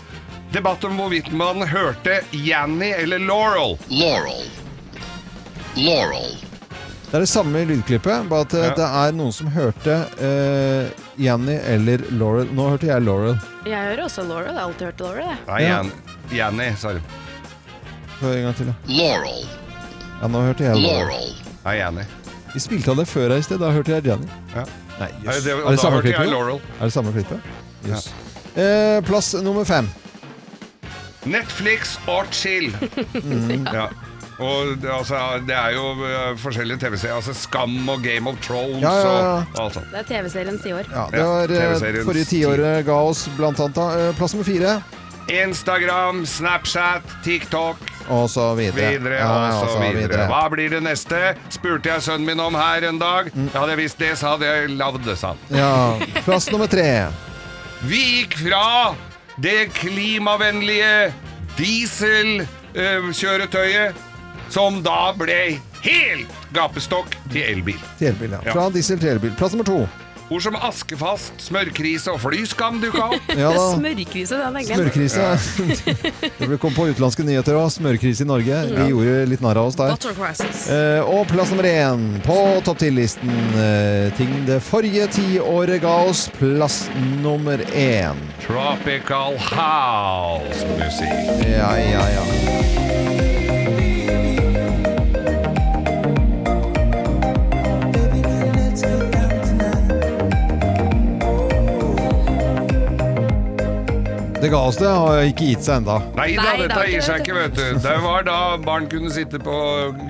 S2: Debatt om hvorvidt man hørte Janny eller Laurel. Laurel. Laurel.
S1: Det er det samme lydklippet, bare at ø,
S2: Ja.
S1: det er noen som hørte ø, Janny eller Laurel. Nå hørte jeg Laurel.
S3: Jeg hører også Laura. Jeg har alltid hørt Laura. Jeg.
S2: Nei,
S1: Ja.
S2: Jan Janny, sa du.
S1: Hør en gang til, da.
S2: Laurel.
S1: Ja, nå hørte jeg Laurel.
S2: Laurel. Nei, Janny.
S1: Vi spilte av det før her i sted. Da hørte jeg Janny.
S2: Ja.
S1: Nei,
S2: Nei,
S1: jøss.
S2: det-
S1: Er
S2: og
S1: det
S2: da
S1: samme
S2: hørte jeg
S1: klippet?
S2: Laurel.
S1: Er det samme klippet? Jøss. Eh, plass nummer fem.
S2: Netflix og chill. ja. Og det- altså, det er jo eh, forskjellige TV-serier. Altså Skam og Game of Thrones
S1: Ja, ja, ja.
S2: og alt sånt.
S3: Det er TV-seriens tiår.
S1: Ja, det
S2: Ja,
S1: var eh,
S2: TV-seriens
S1: forrige tiåret ga oss blant annet da. Eh, Plass nummer fire.
S2: Instagram, Snapchat, TikTok,
S1: Og så videre.
S2: videre
S1: Ja, altså, ja,
S2: og så videre. Hva blir det neste? Spurte jeg sønnen min om her en dag.
S1: Mm.
S2: Ja, det visst det, sa det, lavd det, sa han.
S1: Ja, Plass nummer tre.
S2: Vi gikk fra det klimavennlige dieselkjøretøyet, som da ble helt gapestokk til elbil.
S1: Til elbil, ja.
S2: Ja.
S1: Fra diesel til elbil. Plass nummer to.
S2: Ord som askefast, smørkrise og flyskam dukka opp.
S1: Ja da.
S3: Smørkrise, den egentlig.
S1: Smørkrise. det kom på utenlandske nyheter òg. Smørkrise i Norge. De gjorde litt narr av oss der.
S3: Butter crisis.
S1: Eh, og plass nummer én på topp 10-listen. eh, ting det forrige tiåret ga oss. Plass nummer én.
S2: Tropical house-musikk.
S1: Ja, ja, ja. ga oss det, har ikke gitt seg enda.
S2: Nei da, dette gir seg ikke, vet du. Det var da barn kunne sitte på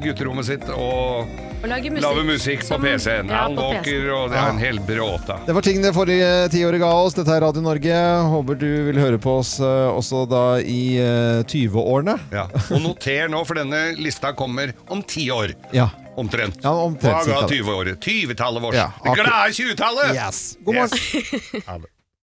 S2: gutterommet sitt og
S12: Å lage musikk.
S2: lage musikk på
S12: som-
S2: PC-en.
S12: Ja,
S2: Han
S12: på
S2: walker,
S12: PC-en.
S2: og det er en hel bråta.
S1: Det var ting det forrige tiåret ga oss. Dette er Radio Norge. Håper du vil høre på oss eh, også da i eh, 20-årene.
S2: Ja. Og noter nå, for denne lista kommer om ti år.
S1: Ja.
S2: Omtrent.
S1: Ja, omtrent,
S2: Hva ga
S1: cirka.
S2: 20-året? 20-tallet vårt.
S1: Ja,
S2: Det
S1: akkurat.
S2: glade 20-tallet!
S1: Yes. God morgen.
S2: Yes. Ha det.